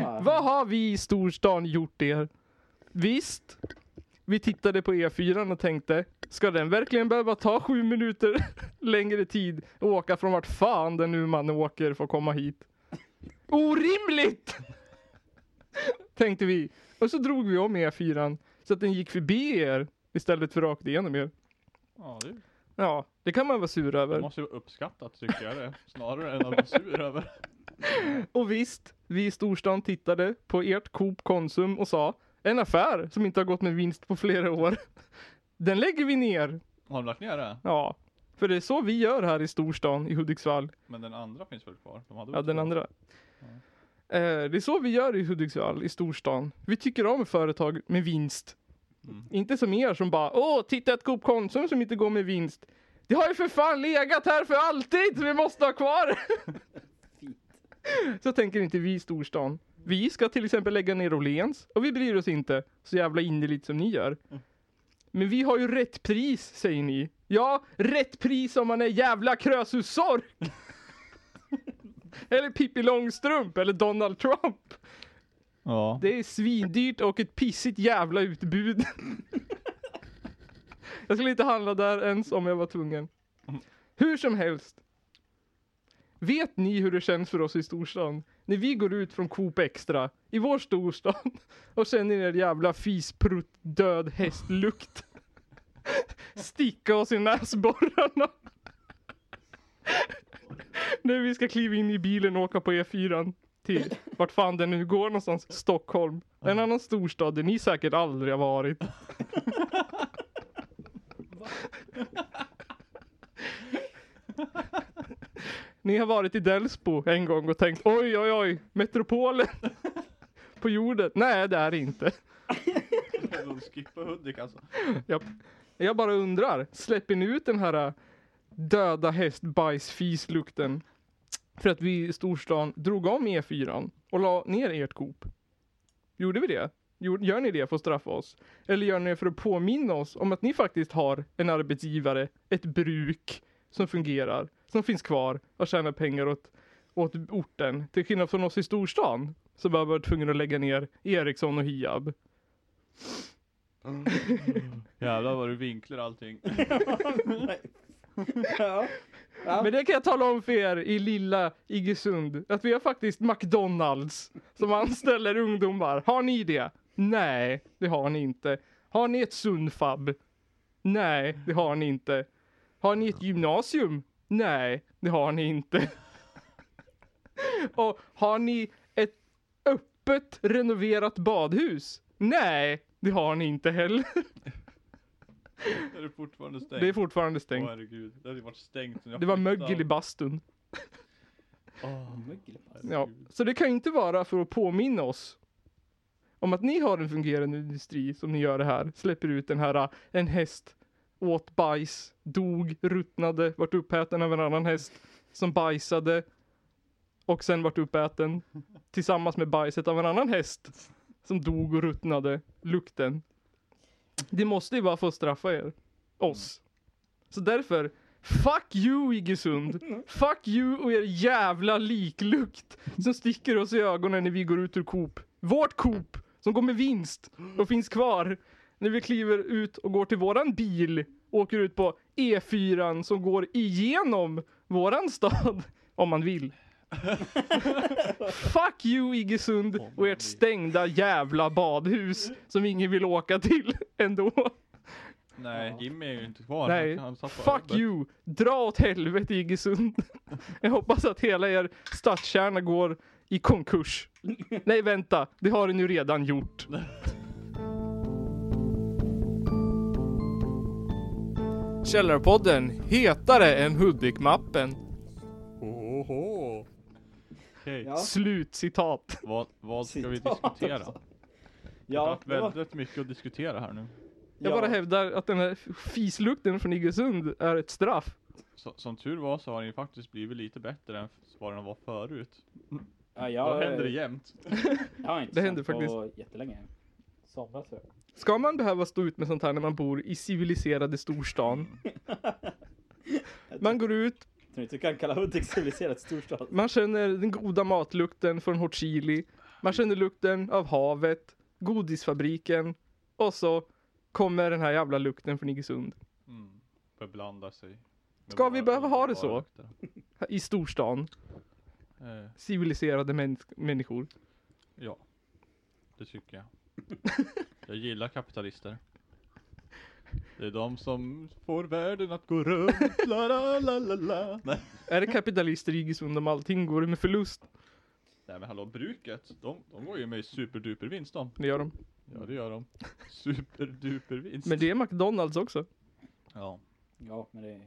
Speaker 3: Ja.
Speaker 2: Vad har vi i storstan gjort er? Visst, vi tittade på E4 och tänkte, ska den verkligen behöva ta sju minuter längre tid och åka från vart fan den nu man åker för att komma hit? Orimligt! Tänkte vi. Och så drog vi om E4 så att den gick förbi er istället för rakt igenom er.
Speaker 1: Ja, det
Speaker 2: Ja, det kan man vara sur
Speaker 1: det
Speaker 2: över.
Speaker 1: måste ju vara uppskattat tycker jag det. Snarare än att vara sur över.
Speaker 2: Och visst, vi i storstan tittade på ert Coop Konsum och sa en affär som inte har gått med vinst på flera år. Den lägger vi ner.
Speaker 1: Har de lagt ner det?
Speaker 2: Ja, för det är så vi gör här i storstan i Hudiksvall.
Speaker 1: Men den andra finns väl kvar? De hade
Speaker 2: Ja,
Speaker 1: väl
Speaker 2: den
Speaker 1: två?
Speaker 2: andra. Eh, det är så vi gör i Hudiksvall, i storstan. Vi tycker om företag med vinst.
Speaker 1: Mm.
Speaker 2: Inte som er som bara, åh, titta ett Coop Konsum som inte går med vinst. Det har ju för fan legat här för alltid, så vi måste ha kvar det."
Speaker 3: Fint.
Speaker 2: Så tänker inte vi i storstan. Vi ska till exempel lägga ner Åhléns och vi bryr oss inte så jävla innerligt som ni gör. Men vi har ju rätt pris, säger ni. Ja, rätt pris om man är jävla Krösus Sork. Eller Pippi Långstrump eller Donald Trump.
Speaker 1: Ja.
Speaker 2: Det är svindyrt och ett pissigt jävla utbud. jag skulle inte handla där ens om jag var tvungen. Hur som helst. Vet ni hur det känns för oss i storstan? När vi går ut från Coop Extra i vår storstad och känner er jävla fisprutt död hästlukt. Sticka oss i näsborrarna. När vi ska kliva in i bilen och åka på E4 till vart fan den nu går någonstans, Stockholm. En annan storstad där ni säkert aldrig har varit. Ni har varit i Delsbo en gång och tänkt oj oj oj, metropolen på jorden. Nej det är det inte.
Speaker 1: De skippar Hudik alltså.
Speaker 2: Japp. Jag bara undrar, släpper ni ut den här äh, döda häst bajs lukten för att vi i storstan drog om E4 och la ner ert Coop? Gjorde vi det? Jo- Gör ni det för att straffa oss? Eller gör ni det för att påminna oss om att ni faktiskt har en arbetsgivare, ett bruk som fungerar, som finns kvar och tjänar pengar åt, åt orten? Till skillnad från oss i storstan som har varit tvungna att lägga ner Ericsson och Hiab.
Speaker 1: Jävlar vad du vinklar allting.
Speaker 3: Ja. Ja.
Speaker 2: Men det kan jag tala om för er i lilla Iggesund. Att vi har faktiskt McDonalds som anställer ungdomar. Har ni det? Nej, det har ni inte. Har ni ett Sunfab? Nej, det har ni inte. Har ni ett gymnasium? Nej, det har ni inte. Och har ni ett öppet renoverat badhus? Nej, det har ni inte heller.
Speaker 1: Är det fortfarande stängt?
Speaker 2: Det är fortfarande
Speaker 1: Åh
Speaker 2: stängt.
Speaker 1: herregud, det hade ju varit stängt sen jag
Speaker 2: Det var
Speaker 1: flyttade.
Speaker 2: mögel i bastun.
Speaker 1: Åh,
Speaker 2: Ja,
Speaker 1: herregud.
Speaker 2: så det kan ju inte vara för att påminna oss om att ni har en fungerande industri som ni gör det här. Släpper ut den här, äh, en häst åt bajs, dog, ruttnade, vart uppäten av en annan häst som bajsade och sen vart uppäten tillsammans med bajset av en annan häst som dog och ruttnade, lukten. Det måste ju bara få straffa er, oss. Så därför, fuck you Iggesund! Fuck you och er jävla liklukt som sticker oss i ögonen när vi går ut ur Coop. Vårt Coop som går med vinst och finns kvar när vi kliver ut och går till våran bil och åker ut på E4 som går igenom våran stad om man vill. Fuck you Iggesund och ert stängda jävla badhus som ingen vill åka till ändå.
Speaker 1: Nej, Jimmy är ju inte kvar.
Speaker 2: Nej,
Speaker 1: Han tappar
Speaker 2: fuck
Speaker 1: jobbet.
Speaker 2: you! Dra åt helvete Iggesund. Jag hoppas att hela er stadskärna går i konkurs. Nej vänta, det har den ju redan gjort. Källarpodden hetare än Hudik-mappen.
Speaker 1: Oho. Okej,
Speaker 3: Ja.
Speaker 2: Slut citat.
Speaker 1: vad, vad ska vi
Speaker 3: Citat
Speaker 1: diskutera?
Speaker 2: alltså.
Speaker 3: också.
Speaker 1: Det har
Speaker 3: Ja,
Speaker 1: varit
Speaker 3: det var-
Speaker 1: väldigt mycket att diskutera här nu.
Speaker 2: Jag
Speaker 3: ja.
Speaker 2: bara hävdar att den här fislukten från Iggesund är ett straff.
Speaker 1: Så, som tur var så har den ju faktiskt blivit lite bättre än vad den var förut.
Speaker 3: Ja,
Speaker 1: Då
Speaker 3: jag,
Speaker 1: händer det jämt.
Speaker 3: jag har inte
Speaker 2: Det händer
Speaker 3: känt på
Speaker 2: faktiskt.
Speaker 3: jättelänge. Somras tror jag.
Speaker 2: Ska man behöva stå ut med sånt här när man bor i civiliserade storstan? Man går ut,
Speaker 3: Tror du inte du kan kalla Hudik civiliserat storstad?
Speaker 2: Man känner den goda matlukten från hårt chili. Man känner lukten av havet, godisfabriken och så kommer den här jävla lukten från Iggesund.
Speaker 1: Mm. Beblandar sig. med
Speaker 2: Ska vi
Speaker 1: våra
Speaker 2: behöva ha det så?
Speaker 1: varulukter.
Speaker 2: I storstan.
Speaker 1: Eh,
Speaker 2: Civiliserade mäns- människor.
Speaker 1: ja, det tycker jag. Jag gillar kapitalister. Det är de som får världen att gå runt. La, la, la, la, la. Nej.
Speaker 2: Är det kapitalister i Iggesund om allting går med förlust?
Speaker 1: Nej men hallå, bruket, de, de går ju med superduper vinst de.
Speaker 2: Det gör de.
Speaker 1: Ja det gör de. Superduper vinst.
Speaker 2: Men det är McDonalds också.
Speaker 1: Ja.
Speaker 3: Ja, men det,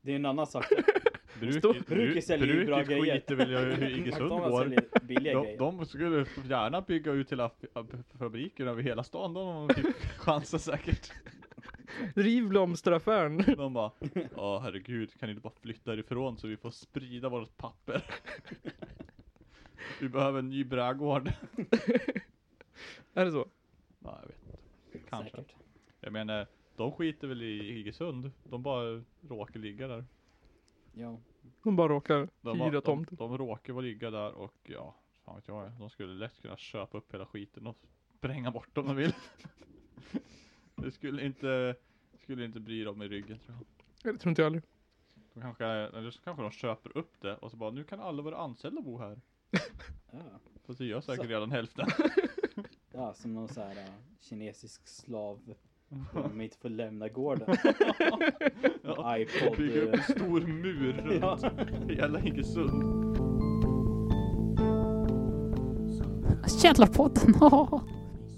Speaker 3: det är en annan sak.
Speaker 1: Bruket,
Speaker 2: Stå-
Speaker 1: bru-
Speaker 3: Bruket säljer ju bra grejer.
Speaker 1: skiter väl i hur Iggesund
Speaker 3: McDonalds
Speaker 1: går.
Speaker 3: säljer billiga
Speaker 1: De,
Speaker 3: grejer.
Speaker 1: de skulle gärna bygga ut hela f- ab- fabriker över hela stan de om de fick chansen säkert.
Speaker 2: Riv blomsteraffären.
Speaker 1: De bara, ja herregud, kan ni inte bara flytta ifrån så vi får sprida vårt papper? Vi behöver en ny brädgård.
Speaker 2: Är det så?
Speaker 1: Ja, jag vet inte. Kanske.
Speaker 3: Säkert.
Speaker 1: Jag menar, de skiter väl i Iggesund. De bara råkar ligga där.
Speaker 3: Ja.
Speaker 2: De bara råkar
Speaker 1: De,
Speaker 2: hyra
Speaker 1: var- de,
Speaker 2: tomten.
Speaker 1: de råkar vara ligga där och ja, fan vet jag. De skulle lätt kunna köpa upp hela skiten och spränga bort om de vill. Det skulle inte, skulle inte bry dem i ryggen tror jag.
Speaker 2: Det tror inte jag heller.
Speaker 1: De kanske, eller så kanske de köper upp det och så bara, nu kan alla våra anställda bo här.
Speaker 3: Ja.
Speaker 1: Fast det gör säkert
Speaker 3: Så.
Speaker 1: redan hälften.
Speaker 3: ja, som någon så här äh, kinesisk slav.
Speaker 2: Mm.
Speaker 3: De inte får lämna gården.
Speaker 1: Ja.
Speaker 3: iPod.
Speaker 1: Bygger upp en
Speaker 3: eh,
Speaker 1: stor mur runt
Speaker 3: Ja.
Speaker 1: hela Iggesund.
Speaker 8: Källarpodden, ja.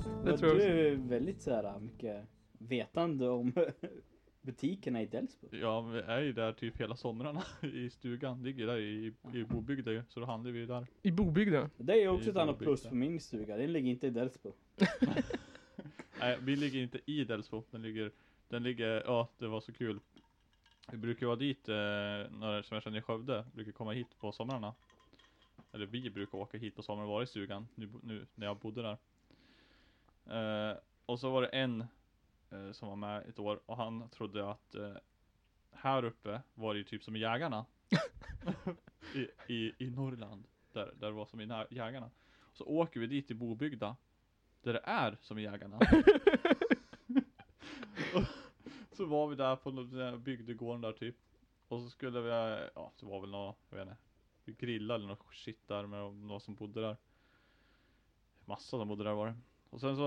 Speaker 2: Det
Speaker 3: men
Speaker 2: tror jag
Speaker 3: Du
Speaker 2: också.
Speaker 3: är väldigt så här äh, mycket vetande om butikerna i Delsbo.
Speaker 1: Ja, vi är ju där typ hela somrarna i stugan. Ligger där i, i Bobygda ju, så då handlar vi ju där.
Speaker 2: I bobygden.
Speaker 3: Det är ju
Speaker 1: Det är
Speaker 3: också ett annat
Speaker 1: jobbigt
Speaker 3: plus
Speaker 1: där.
Speaker 3: på min stuga. Den ligger inte i Delsbo.
Speaker 1: Nej, vi ligger inte i Delsbo. Den ligger, den ligger, ja det var så kul. Vi brukar vara dit, eh, när, som jag känner i Skövde, brukar komma hit på somrarna. Eller vi brukar åka hit på sommaren och vara i stugan, nu, bo- nu när jag bodde där. Eh, och så var det en eh, som var med ett år och han trodde att eh, här uppe var det ju typ som i Jägarna. I, i, I Norrland, där, där det var som i nä- Jägarna. Så åker vi dit till Bobygda, där det är som i Jägarna. Och så var vi där på någon- den här bygdegården där typ. Och så skulle vi, eh, ja det var väl något, jag vet inte. Vi grillade eller något shit där med de- någon som bodde där. Massa som bodde där var det. Och sen så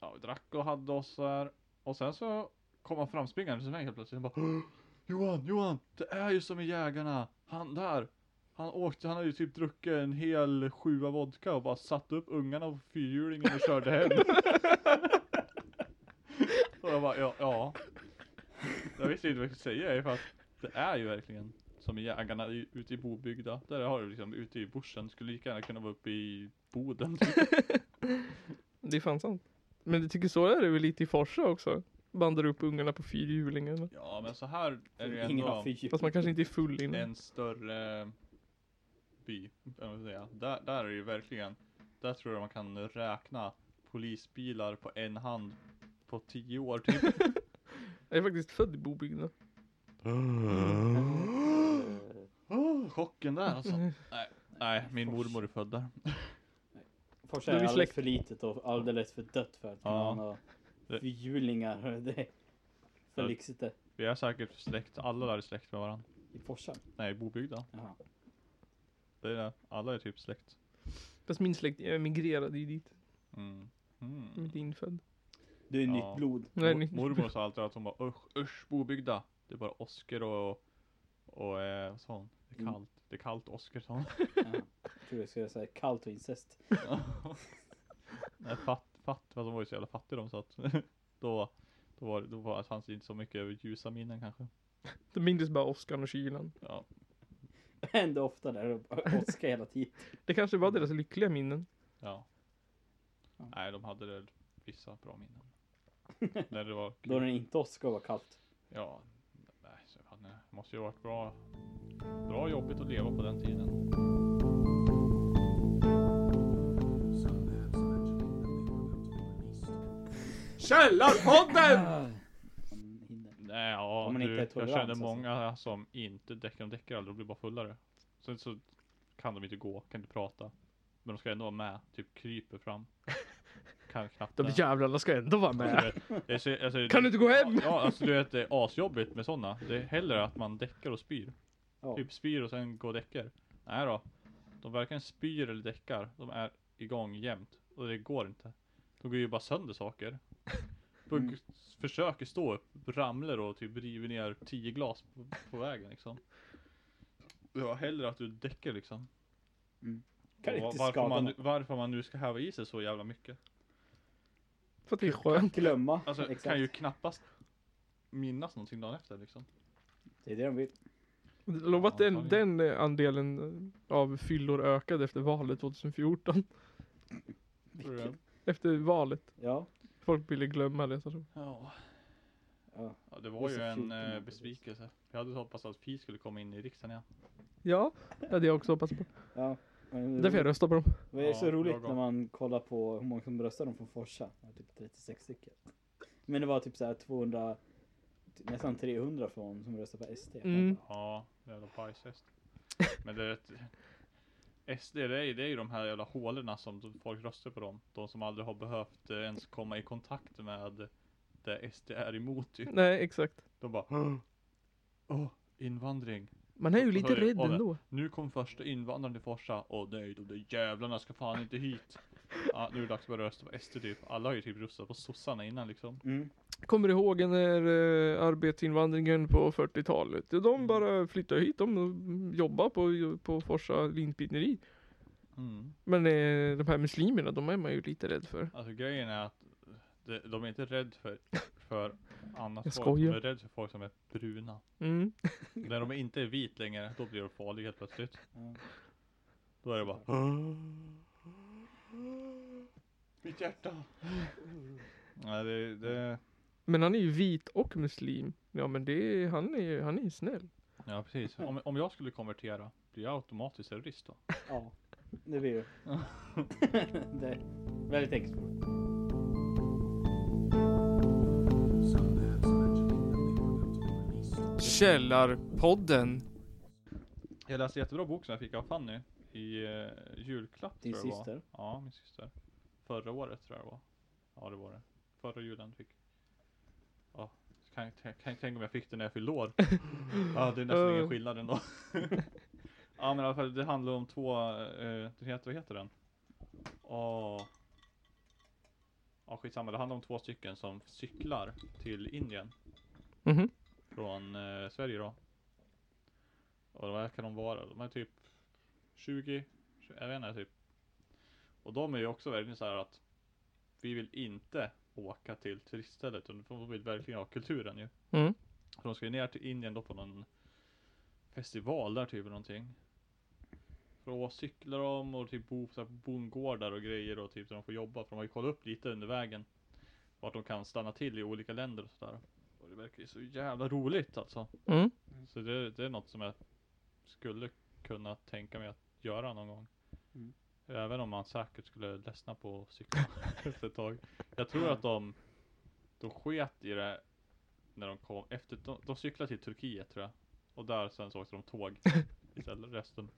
Speaker 1: ja, vi drack och hade oss där. Och sen så kom han framspringande till mig helt plötsligt. Han bara "Åh, Johan, Johan, det är ju som i Jägarna. Han där. Han åkte, han hade ju typ druckit en hel sjua vodka och bara satt upp ungarna på fyrhjulingen och körde hem. och jag bara, ja, ja. Jag visste inte vad jag skulle säga för att det är ju verkligen som i Jägarna i- ute i Bobygda. Där har du liksom ute i bushen, skulle lika gärna kunna vara uppe i Boden.
Speaker 2: Det är fan sant. Men jag tycker så är det väl lite i Forsa också. Bandar upp ungarna på fyrhjulingarna.
Speaker 1: Ja men så här är det ju
Speaker 3: Ingen har
Speaker 1: ändå
Speaker 3: fyr.
Speaker 2: Fast man kanske inte är full innan.
Speaker 1: en större by, eller vad man ska säga. Där, där är det ju verkligen, där tror jag man kan räkna polisbilar på en hand på tio år typ.
Speaker 2: Jag är faktiskt född i Bobygden.
Speaker 3: Eh,
Speaker 1: Åh, Chocken där alltså.
Speaker 3: Mm.
Speaker 1: Nej, nej, min mormor är född där.
Speaker 3: Forsa
Speaker 2: Då
Speaker 3: är
Speaker 2: är vi
Speaker 3: alldeles
Speaker 2: släkt.
Speaker 3: för litet och alldeles för dött för att
Speaker 1: Ja.
Speaker 3: man har fyrhjulingar. Det är för
Speaker 1: Ja.
Speaker 3: lyxigt det.
Speaker 1: Vi är säkert släkt, alla där är släkt med varandra.
Speaker 3: I Forsa?
Speaker 1: Nej, Bobygda.
Speaker 3: Jaha.
Speaker 1: Det är det. Alla är typ släkt.
Speaker 2: Fast min släkt emigrerade ju dit.
Speaker 1: Mm.
Speaker 2: De är
Speaker 1: Mm.
Speaker 2: inte infödd.
Speaker 3: Du är
Speaker 1: Ja.
Speaker 3: nytt blod.
Speaker 2: Nej,
Speaker 1: Mor-
Speaker 2: ni-
Speaker 1: mormor sa alltid att hon bara usch, usch Bobygda. Det är bara Oskar och, och eh, vad sa hon? Det är
Speaker 3: Mm.
Speaker 1: kallt. Det är kallt Oskar sa hon.
Speaker 3: Jaha. Jag tror jag skulle säga kallt och incest.
Speaker 1: Nej, fatt, fatt, fast de var ju så jävla fattiga de så att då, då var då var, fanns det inte så mycket ljusa minnen kanske.
Speaker 2: De mindes bara åskan och kylan.
Speaker 1: Ja,
Speaker 3: Det händer ofta där och åska hela tiden.
Speaker 2: Det kanske var deras lyckliga minnen.
Speaker 1: ja.
Speaker 3: Ja.
Speaker 1: Nej, de hade väl vissa bra minnen. När det var
Speaker 3: Då är det inte åska och var kallt.
Speaker 1: Ja, nej, så fan, det måste ju ha varit bra, bra jobbigt att leva på den tiden.
Speaker 2: Källarpodden!
Speaker 1: Ah.
Speaker 3: Man hinner.
Speaker 1: Nej, ja,
Speaker 3: Om man
Speaker 1: du,
Speaker 3: inte är
Speaker 1: jag
Speaker 3: tolerant,
Speaker 1: känner
Speaker 3: alltså.
Speaker 1: många som inte däckar, de däckar aldrig och blir bara fullare. Sen så kan de inte gå, kan inte prata. Men de ska ändå vara med, typ kryper fram. Kan knappt
Speaker 2: De
Speaker 1: det.
Speaker 2: jävlarna ska ändå vara med.
Speaker 1: Alltså, det- det är så- alltså,
Speaker 2: Kan du inte gå hem?
Speaker 1: Ja, alltså du vet det är asjobbigt med sådana. Det är hellre att man däckar och spyr.
Speaker 3: Ja.
Speaker 1: Typ spyr och sen går och däckar. Nej då. De varken spyr eller däckar. De är igång jämt. Och det går inte. De går ju bara sönder saker. De
Speaker 3: Mm.
Speaker 1: försöker stå upp, ramlar och typ river ner tio glas på, på vägen liksom. Ja, hellre att du däckar liksom.
Speaker 3: Kan
Speaker 1: Och
Speaker 3: inte
Speaker 1: varför,
Speaker 3: skada
Speaker 1: man, nu-
Speaker 3: någon.
Speaker 1: varför man nu ska häva i sig så jävla mycket.
Speaker 2: För att det är skönt.
Speaker 3: Glömma.
Speaker 1: Alltså
Speaker 3: Exakt.
Speaker 1: kan ju knappast minnas någonting dagen efter liksom.
Speaker 3: Det är det de vill.
Speaker 2: Lova att
Speaker 1: Ja,
Speaker 2: den, den eh, andelen eh, av fyllor ökade efter valet
Speaker 1: Tror
Speaker 2: 2014.
Speaker 1: du det?
Speaker 2: Efter valet.
Speaker 3: Ja.
Speaker 2: Folk ville glömma det. Så.
Speaker 1: Ja.
Speaker 3: Ja.
Speaker 1: det
Speaker 3: Det
Speaker 1: var
Speaker 3: är
Speaker 1: ju
Speaker 3: så liksom.
Speaker 1: en
Speaker 3: fjorton
Speaker 1: eh,
Speaker 3: år,
Speaker 1: besvikelse. Jag hade hoppats att Pi skulle komma in i riksdagen igen.
Speaker 2: Ja, det hade jag också hoppats på.
Speaker 3: ja. Men-
Speaker 2: Därför jag röstar på dem.
Speaker 3: Det är
Speaker 1: Ja,
Speaker 3: så roligt
Speaker 1: lagom.
Speaker 3: när man kollar på hur många som röstade från Forsa. Det var Typ 36 stycken. Men det var typ så här 200, nästan 300 från som röstade på SD.
Speaker 2: Mm.
Speaker 1: Ja, jävla pajshäst. Men det är ett... SD, det är, ju- det är ju de här jävla hålorna som de- folk röstar på dem. De som aldrig har behövt eh, ens komma i kontakt med det SD är emot typ.
Speaker 2: Nej, exakt.
Speaker 1: De bara Åh, åh, invandring.
Speaker 2: Man är ju
Speaker 1: Så- så
Speaker 2: lite
Speaker 1: är det-
Speaker 2: rädd
Speaker 1: ja, det-
Speaker 2: ändå.
Speaker 1: Nu kom första invandraren till Forsa. Åh nej, de där jävlarna ska fan inte hit. Ja, nu är det dags att börja rösta på SD typ. Alla har ju typ röstat på sossarna innan liksom.
Speaker 3: Mm.
Speaker 2: Kommer du ihåg när eh, arbetsinvandringen på 40-talet? De bara flyttade hit. De jobbade på, på Forsa linpineri.
Speaker 1: Mm.
Speaker 2: Men eh, de här muslimerna, de är man ju lite rädd för.
Speaker 1: Alltså grejen är att de, de är inte rädd för, för annat
Speaker 2: Jag
Speaker 1: folk. De
Speaker 2: skojar.
Speaker 1: är rädd för folk som är bruna.
Speaker 2: Mm.
Speaker 1: När de inte är vit längre, då blir de farliga helt plötsligt.
Speaker 3: Ja.
Speaker 1: Då är det bara Mitt hjärta! Nej det, det,
Speaker 2: Men han är ju vit och muslim. Ja men det är, han är ju, han är ju snäll.
Speaker 1: ja precis. Om, om jag skulle konvertera, blir jag automatiskt terrorist då?
Speaker 3: ja, det blir det. det är väldigt enkelt.
Speaker 2: Källarpodden.
Speaker 1: Jag läste en jättebra bok som jag fick av Fanny i eh, julklapp
Speaker 3: Din
Speaker 1: tror jag det
Speaker 3: syster?
Speaker 1: Var. Ja, min syster. Förra året tror jag det var. Ja, det var det. Förra julen fick. Ja, kan jag, kan jag tänka om jag fick den när jag fyllde år. ja, det är nästan ingen
Speaker 2: Eh.
Speaker 1: skillnad ändå. ja, men i alla fall det handlar om två, eh, det heter, vad heter den? Åh. Ja, Ja skitsamma, det handlar om två stycken som cyklar till Indien
Speaker 2: Mhm.
Speaker 1: från eh, Sverige då. Och de här kan de vara, de är typ 20, 20 jag vet inte typ. Och de är ju också verkligen så här att vi vill inte åka till turiststället, utan de vill verkligen ha kulturen ju.
Speaker 2: Mm.
Speaker 1: Så de ska ju ner till Indien då på någon festival där typ eller någonting. För då cyklar de och typ bo på så här bondgårdar och grejer och typ där de får jobba. För de har ju kollat upp lite under vägen. Vart de kan stanna till i olika länder och sådär. Och det verkar ju så jävla roligt alltså.
Speaker 2: Mm.
Speaker 1: Så det, det är något som jag skulle kunna tänka mig att göra någon gång.
Speaker 3: Mm.
Speaker 1: Även om man säkert skulle ledsna på att cykla efter ett tag. Jag tror att de, de sket i det när de kom efter, de, de cyklade till Turkiet tror jag. Och där sen så åkte de tåg istället resten.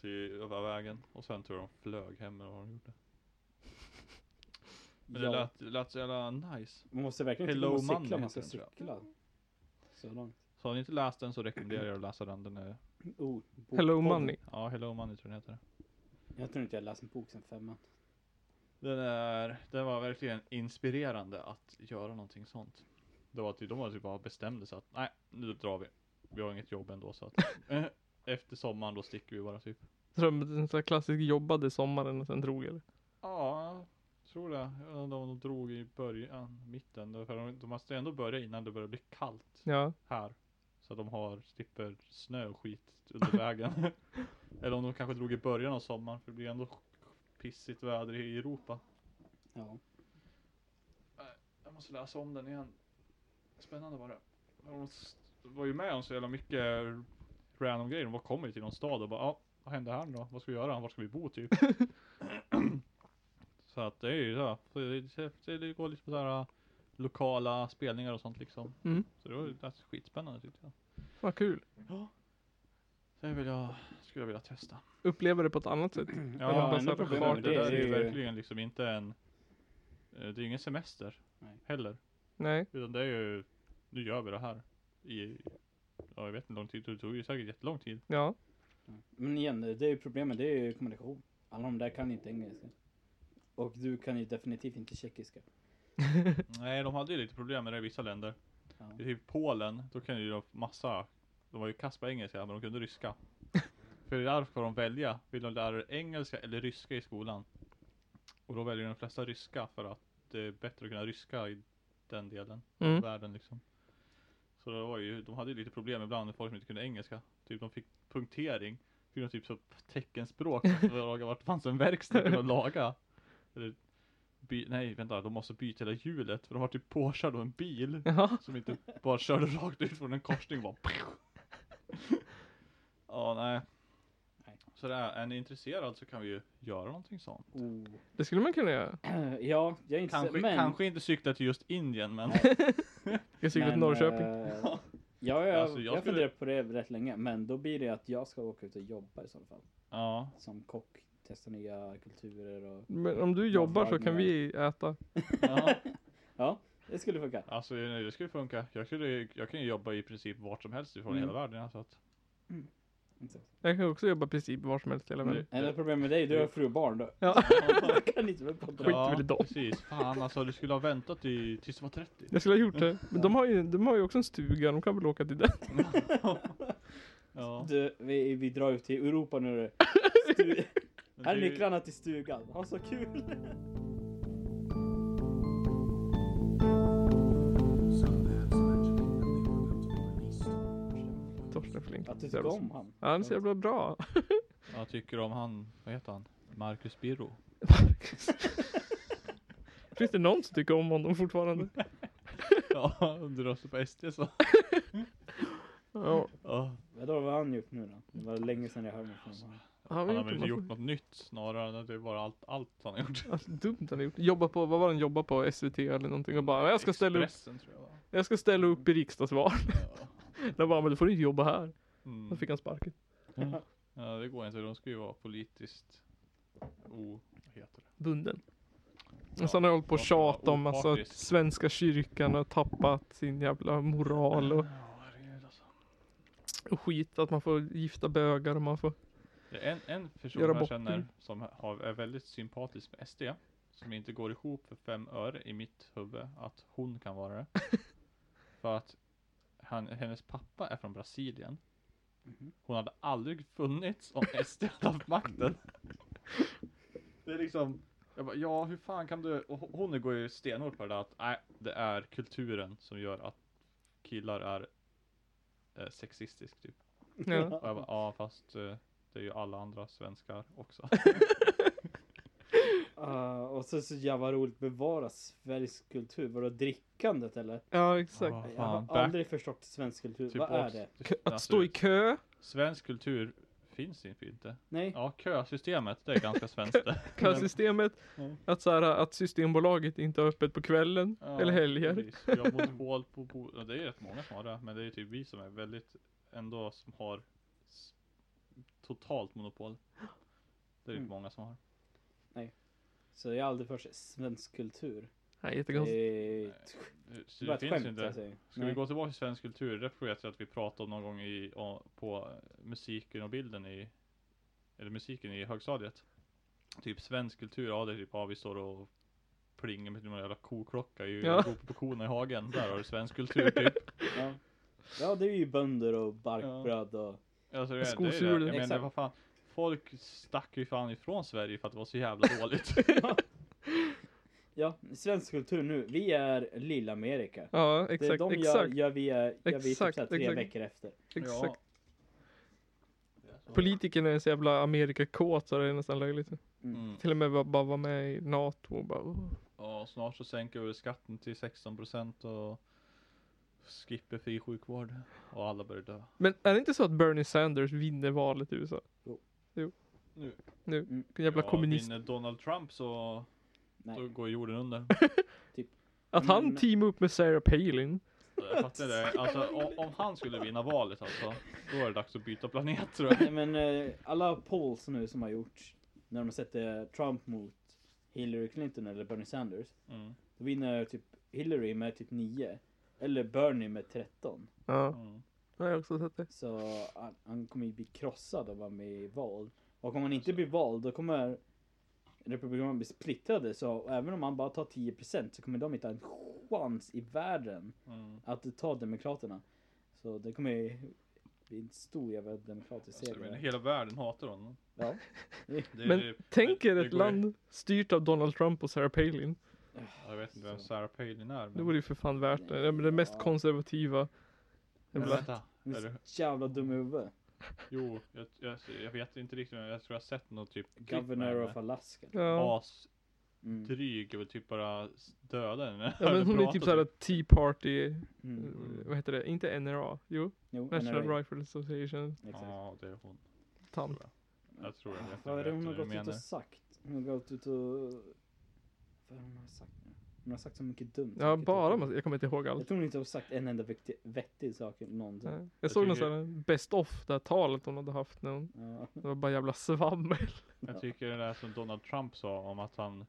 Speaker 1: Till över vägen. Och sen tror jag de flög hem eller vad de gjorde. Men det
Speaker 3: Ja,
Speaker 1: lät, det lät så jävla nice.
Speaker 3: man måste verkligen inte
Speaker 1: Hello
Speaker 3: gå och
Speaker 1: Money
Speaker 3: cykla, man
Speaker 1: heter
Speaker 3: ska
Speaker 1: den, tror jag.
Speaker 3: cykla. Så långt.
Speaker 1: Så har ni inte läst den så rekommenderar jag att läsa den. den är,
Speaker 3: Oh, bokpodden.
Speaker 2: Hello money.
Speaker 1: ja, Hello Money tror jag den heter.
Speaker 3: Jag tror inte jag läst en bok sen femman.
Speaker 1: Den, är, den var verkligen inspirerande att göra någonting sånt. Det var typ, de var typ bara bestämde sig att nej, nu drar vi. Vi har inget jobb ändå så att eh, efter sommaren då sticker vi bara typ.
Speaker 2: Som en sån här klassisk jobbade sommaren och sen drog eller?
Speaker 1: Ja, jag tror det. Jag undrar om de drog i början, mitten. För de, de måste ändå börja innan det börjar bli kallt
Speaker 2: Ja.
Speaker 1: här. Så att de har, slipper snö och skit under vägen. Eller om de kanske drog i början av sommaren för det blir ändå pissigt väder i Europa.
Speaker 3: Ja.
Speaker 1: Jag måste läsa om den igen. Spännande var det. De s- var ju med om så jävla mycket random grejer. De bara kom ju till någon stad och bara, ja, vad hände här nu då? Vad ska vi göra? Var ska vi bo typ? så att det är ju så. här, så det- Det det går lite på så här äh, lokala spelningar och sånt liksom.
Speaker 2: Mm.
Speaker 1: Så det var ju rätt skitspännande tyckte jag.
Speaker 2: Vad kul.
Speaker 1: Det vill jag, skulle jag vilja testa.
Speaker 2: Uppleva det på ett annat sätt.
Speaker 1: Ja,
Speaker 2: bara
Speaker 1: men
Speaker 2: så här
Speaker 1: det,
Speaker 2: på kartan.
Speaker 1: det där är ju
Speaker 3: Det är ju-
Speaker 1: verkligen liksom inte en, eh, det är ju ingen semester
Speaker 3: Nej.
Speaker 1: heller.
Speaker 2: Nej.
Speaker 1: Utan det är ju, nu gör vi det här. I, ja jag vet inte hur lång tid, det tog ju säkert jättelång tid.
Speaker 2: Ja.
Speaker 3: Men igen, det är ju problemet, det är ju kommunikation. Alla de där kan inte engelska. Och du kan ju definitivt inte tjeckiska.
Speaker 1: Nej, de hade ju lite problem med det i vissa länder.
Speaker 3: Ja.
Speaker 1: I typ Polen, då kunde ju de massa, de var ju kass på engelska, men de kunde ryska. För där får de välja, vill de lära dig engelska eller ryska i skolan? Och då väljer de flesta ryska för att det är bättre att kunna ryska i den delen av
Speaker 2: Mm.
Speaker 1: världen liksom. Så det var ju, de hade ju lite problem ibland med folk som inte kunde engelska. Typ de fick punktering, fick de typ så teckenspråk, för att laga vart det fanns en verkstad för att laga. Eller, by, nej vänta, de måste byta hela hjulet för de var typ påkörda av en bil
Speaker 2: Jaha.
Speaker 1: som inte bara körde rakt ut från en korsning och bara Ja, nej.
Speaker 3: Nej.
Speaker 1: Så där, är ni intresserad så kan vi ju göra någonting sånt.
Speaker 3: Oh.
Speaker 2: Det skulle man kunna göra.
Speaker 3: Ja, jag är inte
Speaker 1: Kanske,
Speaker 3: men...
Speaker 1: kanske inte cykla till just Indien, men
Speaker 2: Jag cyklar till
Speaker 3: men,
Speaker 2: Norrköping.
Speaker 3: eh, ja, jag,
Speaker 1: Alltså, jag
Speaker 3: jag,
Speaker 1: skulle-
Speaker 3: funderar på det rätt länge, men då blir det att jag ska åka ut och jobba i så fall.
Speaker 1: ja.
Speaker 3: Som kock, testa nya kulturer och...
Speaker 2: Men om du jobbar så kan
Speaker 3: Vagnar.
Speaker 2: vi äta.
Speaker 1: ja.
Speaker 3: Ja, det skulle funka.
Speaker 1: Alltså nej, det skulle funka. Jag, skulle, jag kan ju jobba i princip vart som helst ifrån
Speaker 3: Mm.
Speaker 1: hela världen. ja, Så att,
Speaker 3: Exakt.
Speaker 2: Jag kan också jobba i princip var som helst i hela
Speaker 1: Mm.
Speaker 2: världen.
Speaker 3: Enda problemet Mm. med dig, du har fru och barn då.
Speaker 2: Ja.
Speaker 3: Jag kan inte vara på
Speaker 2: Skit väl i dem.
Speaker 1: precis. Fan alltså, du skulle ha väntat i, tills du var 30.
Speaker 2: Jag skulle ha gjort
Speaker 1: Mm.
Speaker 2: det. Men de har ju, de har ju också en stuga. De kan väl åka till den.
Speaker 1: Ja.
Speaker 3: Du, vi, vi drar ut till Europa nu. du. Stu-
Speaker 1: men
Speaker 3: Här är
Speaker 1: det ju-
Speaker 3: nycklarna till stugan. Ha så kul!
Speaker 4: Some bats imagining that they were about to be released.
Speaker 2: Torsten Flink.
Speaker 3: Att du tycker typ om han.
Speaker 2: Ja, han är så jävla bra.
Speaker 1: Jag tycker om han, vad heter han? Marcus Birro.
Speaker 2: Finns det någon som tycker om honom fortfarande?
Speaker 1: Ja, om du röstar på SD så.
Speaker 2: Ja.
Speaker 1: Ja.
Speaker 3: Vadå, vad har han gjort nu då? Det var länge sedan jag hörde något från honom.
Speaker 2: Han
Speaker 1: Han har
Speaker 2: har
Speaker 1: väl
Speaker 2: gjort,
Speaker 1: inte
Speaker 2: en
Speaker 1: gjort
Speaker 2: massa-
Speaker 1: något nytt snarare än att det är bara allt, allt han har gjort.
Speaker 2: Alltså, dumt han har gjort. Jobba på, vad var han jobba på? SVT eller någonting och bara jag ska ställa upp,
Speaker 1: Expressen tror jag va?
Speaker 2: jag ska ställa upp i riksdagsval.
Speaker 1: Ja.
Speaker 2: De bara men du får inte jobba här.
Speaker 1: Mm.
Speaker 2: Då fick han sparken.
Speaker 1: ja, det går inte. De ska ju vara politiskt o... Vad heter det?
Speaker 2: Bunden.
Speaker 1: Ja,
Speaker 2: och sen har jag hållit Alltså, på
Speaker 1: de
Speaker 2: och
Speaker 1: ska vara
Speaker 2: tjat om alltså, att
Speaker 1: opartisk.
Speaker 2: svenska kyrkan har tappat sin jävla moral och,
Speaker 1: Ja, herregud, alltså.
Speaker 2: och skit. Att man får gifta bögar och man får...
Speaker 1: Det är en, en person
Speaker 2: Göra
Speaker 1: jag
Speaker 2: bort
Speaker 1: känner
Speaker 2: det.
Speaker 1: som har, är väldigt sympatisk med SD. som inte går ihop för fem öre i mitt huvud att hon kan vara det. för att han, hennes pappa är från Brasilien.
Speaker 2: Mhm.
Speaker 1: Hon hade aldrig funnits om SD hade haft makten. det är liksom, jag bara, ja hur fan kan du, och hon- hon går ju stenhårt på det där att nej, det är kulturen som gör att killar är eh, sexistisk typ.
Speaker 2: Ja.
Speaker 1: Och jag bara, ja fast eh, det är ju alla andra svenskar också.
Speaker 3: Ah, och så så jävla roligt bevara svensk kultur. Vadå drickandet eller?
Speaker 2: ja, exakt.
Speaker 1: Ja,
Speaker 3: jag har
Speaker 1: fan, back-
Speaker 3: aldrig förstått svensk kultur.
Speaker 1: typ
Speaker 3: Vad är
Speaker 1: oss-
Speaker 3: det?
Speaker 2: Att
Speaker 1: alltså,
Speaker 2: stå i kö,
Speaker 1: Svensk kultur finns typ inte.
Speaker 3: Nej.
Speaker 1: Ja, kösystemet, det är ganska svenskt det.
Speaker 2: kösystemet,
Speaker 1: Ja.
Speaker 2: att, så här, att Systembolaget inte har öppet på kvällen
Speaker 1: Ja,
Speaker 2: eller helger.
Speaker 1: precis. Vi har monopol på, bo- ja, det är rätt många som har det, men det är ju typ vi som är väldigt, ändå som har s- totalt monopol. Det är ju
Speaker 3: Mm.
Speaker 1: många som har.
Speaker 3: Så jag har aldrig förstått svensk kultur.
Speaker 2: Nej,
Speaker 3: Det
Speaker 2: jättekonstigt.
Speaker 3: är
Speaker 1: Så
Speaker 3: det
Speaker 1: det
Speaker 3: var ett
Speaker 1: finns
Speaker 3: skämt
Speaker 1: inte.
Speaker 3: jag säger.
Speaker 1: Ska vi
Speaker 3: Nej.
Speaker 1: gå tillbaka till svensk kultur? Det vet jag att vi pratade om någon gång i, å- på musiken och bilden i, eller musiken i högstadiet. Typ svensk kultur, ja det är typ, ja vi står och plingar med någon jävla koklocka i
Speaker 2: Ja.
Speaker 1: ropar på korna i hagen. Där har du svensk kultur typ.
Speaker 3: Ja. ja, det är ju bönder och barkbröd och...
Speaker 1: Alltså, det, är- det är
Speaker 2: Skosulor.
Speaker 1: det. Jag menar
Speaker 3: Exakt.
Speaker 1: vad fan. Folk stack ju fan ifrån Sverige för att det var så jävla dåligt.
Speaker 3: Ja, svensk kultur nu. Vi är Lill-Amerika.
Speaker 2: Ja,
Speaker 3: Det är
Speaker 2: exakt,
Speaker 3: de
Speaker 2: exakt,
Speaker 3: gör, gör vi, eh, gör vi typ
Speaker 2: Exakt,
Speaker 3: såhär tre
Speaker 2: exakt.
Speaker 3: veckor efter.
Speaker 2: exakt.
Speaker 1: Ja.
Speaker 2: Politikerna är så jävla Amerikakåt så det är nästan löjligt.
Speaker 1: Mm.
Speaker 2: Till och med bara, bara vara med i NATO och bara oh.
Speaker 1: Ja, snart så sänker vi skatten till 16% och skipper fri sjukvård. Och alla börjar dö.
Speaker 2: Men är det inte så att Bernie Sanders vinner valet i USA?
Speaker 1: Nu.
Speaker 2: Nu,
Speaker 3: Mm.
Speaker 2: jävla
Speaker 1: ja,
Speaker 2: kommunist.
Speaker 1: Vinner Donald Trump så då
Speaker 3: Nej.
Speaker 1: går jorden under.
Speaker 2: Att han
Speaker 3: Men-
Speaker 2: teamar upp med Sarah Palin.
Speaker 1: Jag fattar det. Alltså, om, om han skulle vinna valet alltså, då är det dags att byta planet tror jag.
Speaker 3: Nej, men eh, alla polls nu som har gjorts, när de sätter Trump mot Hillary Clinton eller Bernie Sanders,
Speaker 1: Mm,
Speaker 3: då vinner typ Hillary med typ 9. Eller Bernie med 13.
Speaker 2: Ja,
Speaker 1: mm.
Speaker 2: det har jag också sett det.
Speaker 3: Så han, han kommer ju bli krossad av att vara med i val. Och om han inte blir vald, då kommer Republikanerna bli splittrade. Så även om han bara tar 10% så kommer de inte ha en chans i världen
Speaker 1: Mm.
Speaker 3: att ta Demokraterna. Så det kommer ju bli en stor jävla demokratisk
Speaker 1: Alltså, jag menar,
Speaker 3: seger.
Speaker 1: hela världen hatar honom.
Speaker 3: Ja.
Speaker 1: Det,
Speaker 2: Men
Speaker 1: det-
Speaker 2: tänk
Speaker 1: det-
Speaker 2: er
Speaker 1: det
Speaker 2: ett
Speaker 1: går ju-
Speaker 2: land styrt av Donald Trump och Sarah Palin.
Speaker 1: Jag vet inte vem Sarah Palin är.
Speaker 2: Det
Speaker 1: Men...
Speaker 2: vore ju för fan värt det. Det är det mest
Speaker 3: Ja.
Speaker 2: konservativa.
Speaker 1: Men
Speaker 2: Jävla-
Speaker 1: vänta,
Speaker 3: Han
Speaker 1: är
Speaker 3: är
Speaker 1: det...
Speaker 3: så jävla dum i huvudet.
Speaker 1: Jo, jag, jag, jag vet inte riktigt. men Jag tror jag har sett något typ klipp med
Speaker 3: Governor
Speaker 1: henne.
Speaker 3: of Alaska.
Speaker 2: Ja.
Speaker 1: Asdryg
Speaker 3: Mm.
Speaker 1: och vill typ bara s- döda henne.
Speaker 2: ja, men hon är
Speaker 1: Prata
Speaker 2: typ såhär Tea Party,
Speaker 3: Mm.
Speaker 2: eh, vad heter det, inte NRA, jo,
Speaker 3: Jo,
Speaker 2: National
Speaker 3: NRA.
Speaker 2: Rifle Association,
Speaker 3: Exakt.
Speaker 1: Ja, det är hon.
Speaker 2: tant.
Speaker 1: Jag tror jag vet
Speaker 3: Vad är det
Speaker 1: vet
Speaker 3: hon har
Speaker 1: vad du
Speaker 3: gått ut
Speaker 1: menar.
Speaker 3: och sagt? Hon har gått ut och... Vad är det hon har sagt nu? Hon har sagt så mycket dumt. så
Speaker 2: Ja,
Speaker 3: mycket
Speaker 2: bara,
Speaker 3: tråkigt.
Speaker 2: massa- jag kommer inte ihåg
Speaker 3: Jag
Speaker 2: allt.
Speaker 3: tror hon inte har sagt en enda vettig, vettig sak någonsin.
Speaker 2: Nej. Jag
Speaker 1: Jag
Speaker 2: såg någon
Speaker 1: tycker-
Speaker 2: sån här Best of, det här talet hon hade haft när hon,
Speaker 3: Ja.
Speaker 2: det var bara jävla svammel.
Speaker 1: Jag tycker det där som Donald Trump sa om att han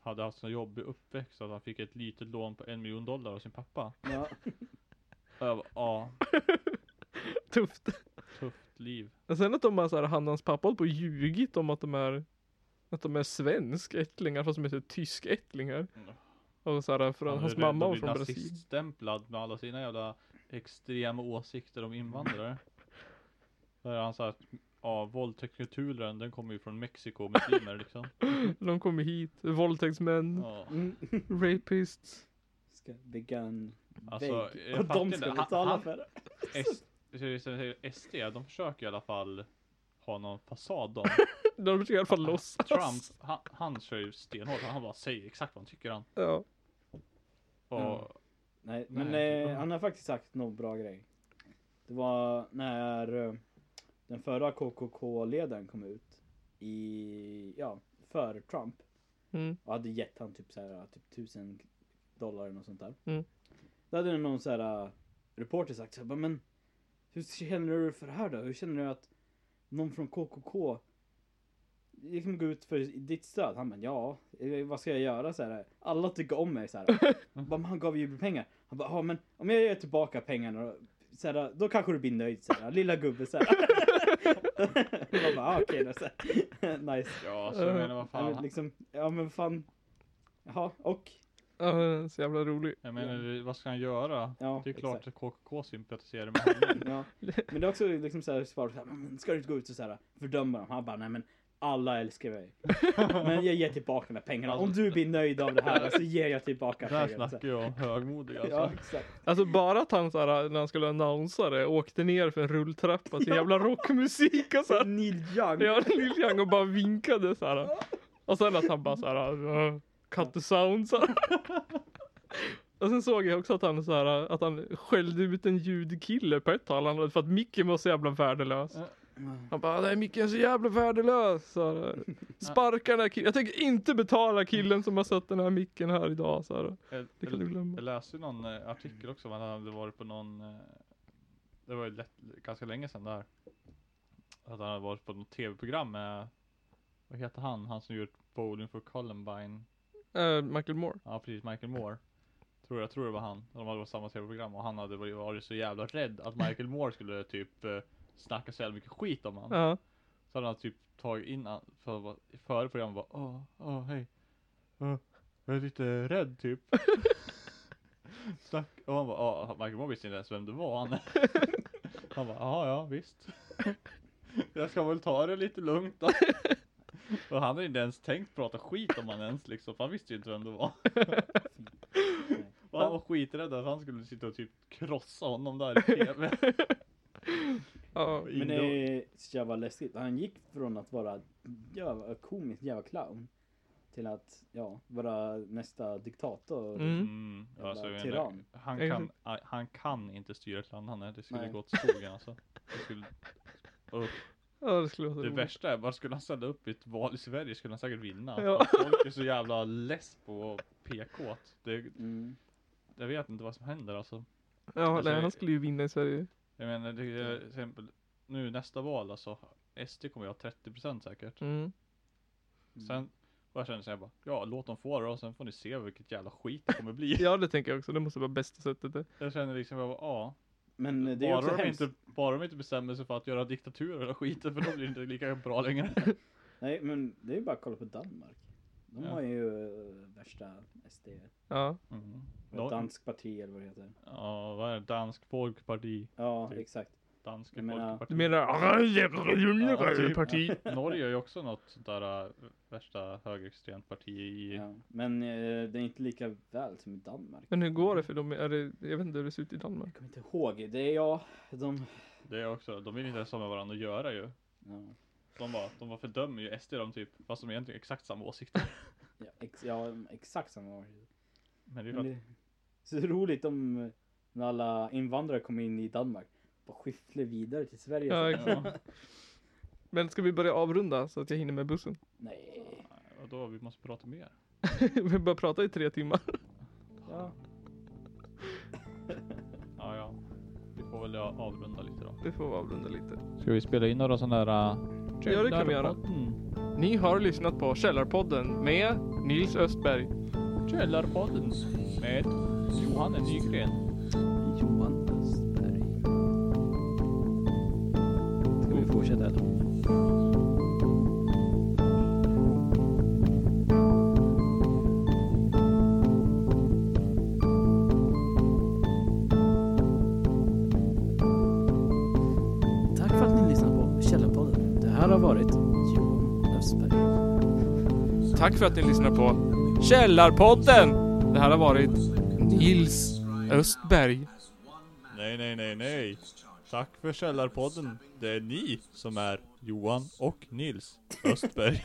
Speaker 1: hade haft så jobbig uppväxt att han fick ett litet lån på en miljon dollar av sin pappa.
Speaker 3: Ja.
Speaker 1: Och jag bara, ja,
Speaker 2: Tufft.
Speaker 1: tufft liv.
Speaker 2: Men sen att de har såhär, han och hans pappa håller på och ljugit om att de är, att de är svensk ättlingar fast de heter tysk ättlingar.
Speaker 1: Mm.
Speaker 2: Och såhär, för
Speaker 1: Han är
Speaker 2: hans
Speaker 1: rädd
Speaker 2: mamma
Speaker 1: att
Speaker 2: var
Speaker 1: bli
Speaker 2: från Brasilien.
Speaker 1: naziststämplad med alla sina jävla extrema åsikter om invandrare. Där han sa att ja, våldtäktskulturen den kommer ju från Mexiko och muslimer liksom.
Speaker 2: De kommer hit, våldtäktsmän,
Speaker 1: Ja.
Speaker 3: Mm.
Speaker 2: rapists.
Speaker 3: Ska bygga en
Speaker 1: Alltså,
Speaker 3: vägg.
Speaker 1: jag
Speaker 3: Och
Speaker 1: fattar
Speaker 3: de
Speaker 1: inte.
Speaker 3: ska
Speaker 1: Han-
Speaker 3: betala
Speaker 1: han-
Speaker 3: för det.
Speaker 1: S- så- så- så- SD, de försöker i alla fall ha någon fasad de.
Speaker 2: De försöker i alla fall låtsas.
Speaker 1: Trump, han, han kör ju stenhårt. Han bara säger exakt vad han tycker han.
Speaker 2: Ja.
Speaker 1: Och,
Speaker 3: Mm. Nej, men
Speaker 1: Nej,
Speaker 3: eh,
Speaker 1: typ-
Speaker 3: han har faktiskt sagt någon bra grej. Det var när eh, den förra KKK-ledaren kom ut i, ja, för Trump.
Speaker 2: Mm.
Speaker 3: Och hade gett han typ så här, typ tusen dollar eller något sånt där.
Speaker 2: Mm.
Speaker 3: Då hade någon så här äh, reporter sagt så här, bara, men hur känner du för det här då? Hur känner du att någon från KKK liksom går ut för ditt stöd? Han bara, ja, eh, vad ska jag göra så här? Alla tycker om mig så här. bara, men han gav ju pengar. Han bara, ja men om jag ger tillbaka pengarna då, så här, då kanske du blir nöjd så här, lilla gubbe så här. Man bara, ah, okej då så här. nice.
Speaker 1: ja, så jag menar vad
Speaker 3: Ja, men
Speaker 1: fan.
Speaker 3: liksom, ja men vad fan. Jaha, och?
Speaker 2: Ja, den är så jävla rolig.
Speaker 1: Jag menar, vad ska han göra?
Speaker 3: Ja,
Speaker 1: Det är klart
Speaker 3: exakt.
Speaker 1: att KKK sympatiserar med honom.
Speaker 3: Ja. Men det är också liksom så här svar, så här, "Men ska du inte gå ut och så här, fördöma dem? Han bara, nej men alla älskar mig. Men jag ger tillbaka de här pengarna. Om du blir nöjd av det här så ger jag tillbaka
Speaker 1: Där
Speaker 3: pengarna.
Speaker 1: snackar jag om högmodig alltså.
Speaker 3: Ja, exakt.
Speaker 2: Alltså bara att han såhär, när han skulle annonsa det, åkte ner för en rulltrappa till
Speaker 3: Ja.
Speaker 2: jävla rockmusik och såhär.
Speaker 3: Neil Young.
Speaker 2: Ja, Lill Young och bara vinkade såhär. Och sen att han bara såhär, "Uh, cut the sound såhär. Och sen såg jag också att han såhär, att han skällde ut en ljudkille på ett tag han hade, för att micken var så jävla värdelös. Han bara, nej micken är så jävla värdelös. Så här, Sparka den här killen, jag tänker inte betala killen som har satt den här micken här idag. Så här.
Speaker 1: Jag,
Speaker 2: Det kan du glömma.
Speaker 1: jag läste ju någon eh, artikel också om att han hade varit på någon eh, Det var ju lätt, ganska länge sedan där Att han hade varit på något tv-program med Vad heter han? Han som gjort Bowling for Columbine
Speaker 2: Eh, Michael Moore.
Speaker 1: Ja precis, Michael Moore Tror jag, tror det var han De hade varit på samma tv-program och han hade varit- varit så jävla rädd att Michael Moore skulle typ eh, Snacka så jävla mycket skit om han
Speaker 2: Ja.
Speaker 1: Så hade han typ tagit in an- för att vara- före programmet bara åh, åh hej. Åh, jag är lite rädd typ. Snack, och han bara, åh, Michael Moore visste inte ens vem det var han. han bara, ja ja visst. jag ska väl ta det lite lugnt då. och han hade inte ens tänkt prata skit om han ens liksom, för han visste ju inte vem det var. och han var skiträdd att han skulle sitta och typ krossa honom där i TV.
Speaker 2: Ja.
Speaker 3: Men det är så jävla läskigt. Han gick från att vara jävla komisk jävla clown till att ja, vara nästa diktator.
Speaker 2: Mm.
Speaker 1: Mm, alltså,
Speaker 3: Jävla
Speaker 1: jag menar,
Speaker 3: tyrann.
Speaker 1: han,
Speaker 2: Exakt.
Speaker 1: kan, a- han kan inte styra ett land han är. Det skulle
Speaker 3: Nej.
Speaker 1: gå åt skogen alltså. Det, skulle, och
Speaker 2: ja, det skulle vara så
Speaker 1: det
Speaker 2: roligt.
Speaker 1: värsta är, bara skulle han ställa upp i ett val i Sverige skulle han säkert vinna.
Speaker 2: Ja.
Speaker 1: För Folk är så jävla less på PK. Det,
Speaker 3: Mm.
Speaker 1: jag vet inte vad som händer alltså.
Speaker 2: Ja,
Speaker 1: Alltså,
Speaker 2: nej, han skulle ju vinna i Sverige.
Speaker 1: Jag menar, det, är till exempel nu nästa val alltså. SD kommer ju ha 30% säkert.
Speaker 2: Mm.
Speaker 3: Mm.
Speaker 1: Sen, och jag känner så här bara, ja låt dem få det och sen får ni se vilket jävla skit det kommer bli.
Speaker 2: Ja, det tänker jag också. Det måste vara bästa sättet. Det.
Speaker 1: Jag känner liksom, jag bara, ja.
Speaker 3: Men det är ju också
Speaker 1: Bara de,
Speaker 3: hemskt.
Speaker 1: inte, bara de inte bestämmer sig för att göra diktaturer eller skiten för då blir det inte lika bra längre.
Speaker 3: Nej, men det är ju bara att kolla på Danmark. De
Speaker 1: Ja.
Speaker 3: har ju eh, värsta SD,
Speaker 2: Ja.
Speaker 1: Mm.
Speaker 3: no.
Speaker 1: Nå-
Speaker 3: dansk parti eller vad det heter.
Speaker 1: Ja, vad är det? Dansk folkparti.
Speaker 3: Ja,
Speaker 1: Typ.
Speaker 3: exakt.
Speaker 1: Danska
Speaker 3: Jag menar-
Speaker 2: Du
Speaker 1: folkparti. Mm. Ja,
Speaker 2: menar
Speaker 1: typ.
Speaker 2: parti?
Speaker 1: Norge är ju också något sånt där äh, värsta högerextremt parti i...
Speaker 3: Ja. Men eh, det är inte lika väl som i Danmark.
Speaker 2: Men hur går det för dem? Är det, jag vet inte hur det ser ut i Danmark.
Speaker 3: Jag kommer inte ihåg. Det är jag. De...
Speaker 1: Det är också, de vill inte ens ha med varandra att göra ju.
Speaker 3: Ja,
Speaker 1: De bara, de bara fördömer ju SD de typ, fast de egentligen har exakt samma åsikter.
Speaker 3: ja, ex- ja exakt samma år.
Speaker 1: Men det är
Speaker 3: Men
Speaker 1: för
Speaker 3: det, så roligt om eh, när alla invandrare kommer in i Danmark. Bara skyfflar vidare till Sverige.
Speaker 2: Ja,
Speaker 3: sen.
Speaker 1: att, ja,
Speaker 2: Men ska vi börja avrunda så att jag hinner med bussen?
Speaker 3: Nej.
Speaker 1: och då vi måste prata mer.
Speaker 2: vi bara prata i tre timmar.
Speaker 3: Ja.
Speaker 1: Ja, ja. Vi får väl avrunda lite då.
Speaker 2: Vi får avrunda lite.
Speaker 1: Ska vi spela in några sådana där... uh,
Speaker 2: Ja, det kan vi göra. Ni har lyssnat på Källarpodden med Nils Östberg.
Speaker 1: Källarpodden med Johanne Nygren.
Speaker 3: Johan Östberg. Ska vi fortsätta eller?
Speaker 8: Tack för att ni lyssnade på Källarpodden. Det här har varit Johan Östberg.
Speaker 2: Tack för att ni lyssnar på Källarpodden! Det här har varit Nils Östberg.
Speaker 1: Nej, nej, nej, nej. Tack för Källarpodden. Det är ni som är Johan och Nils Östberg.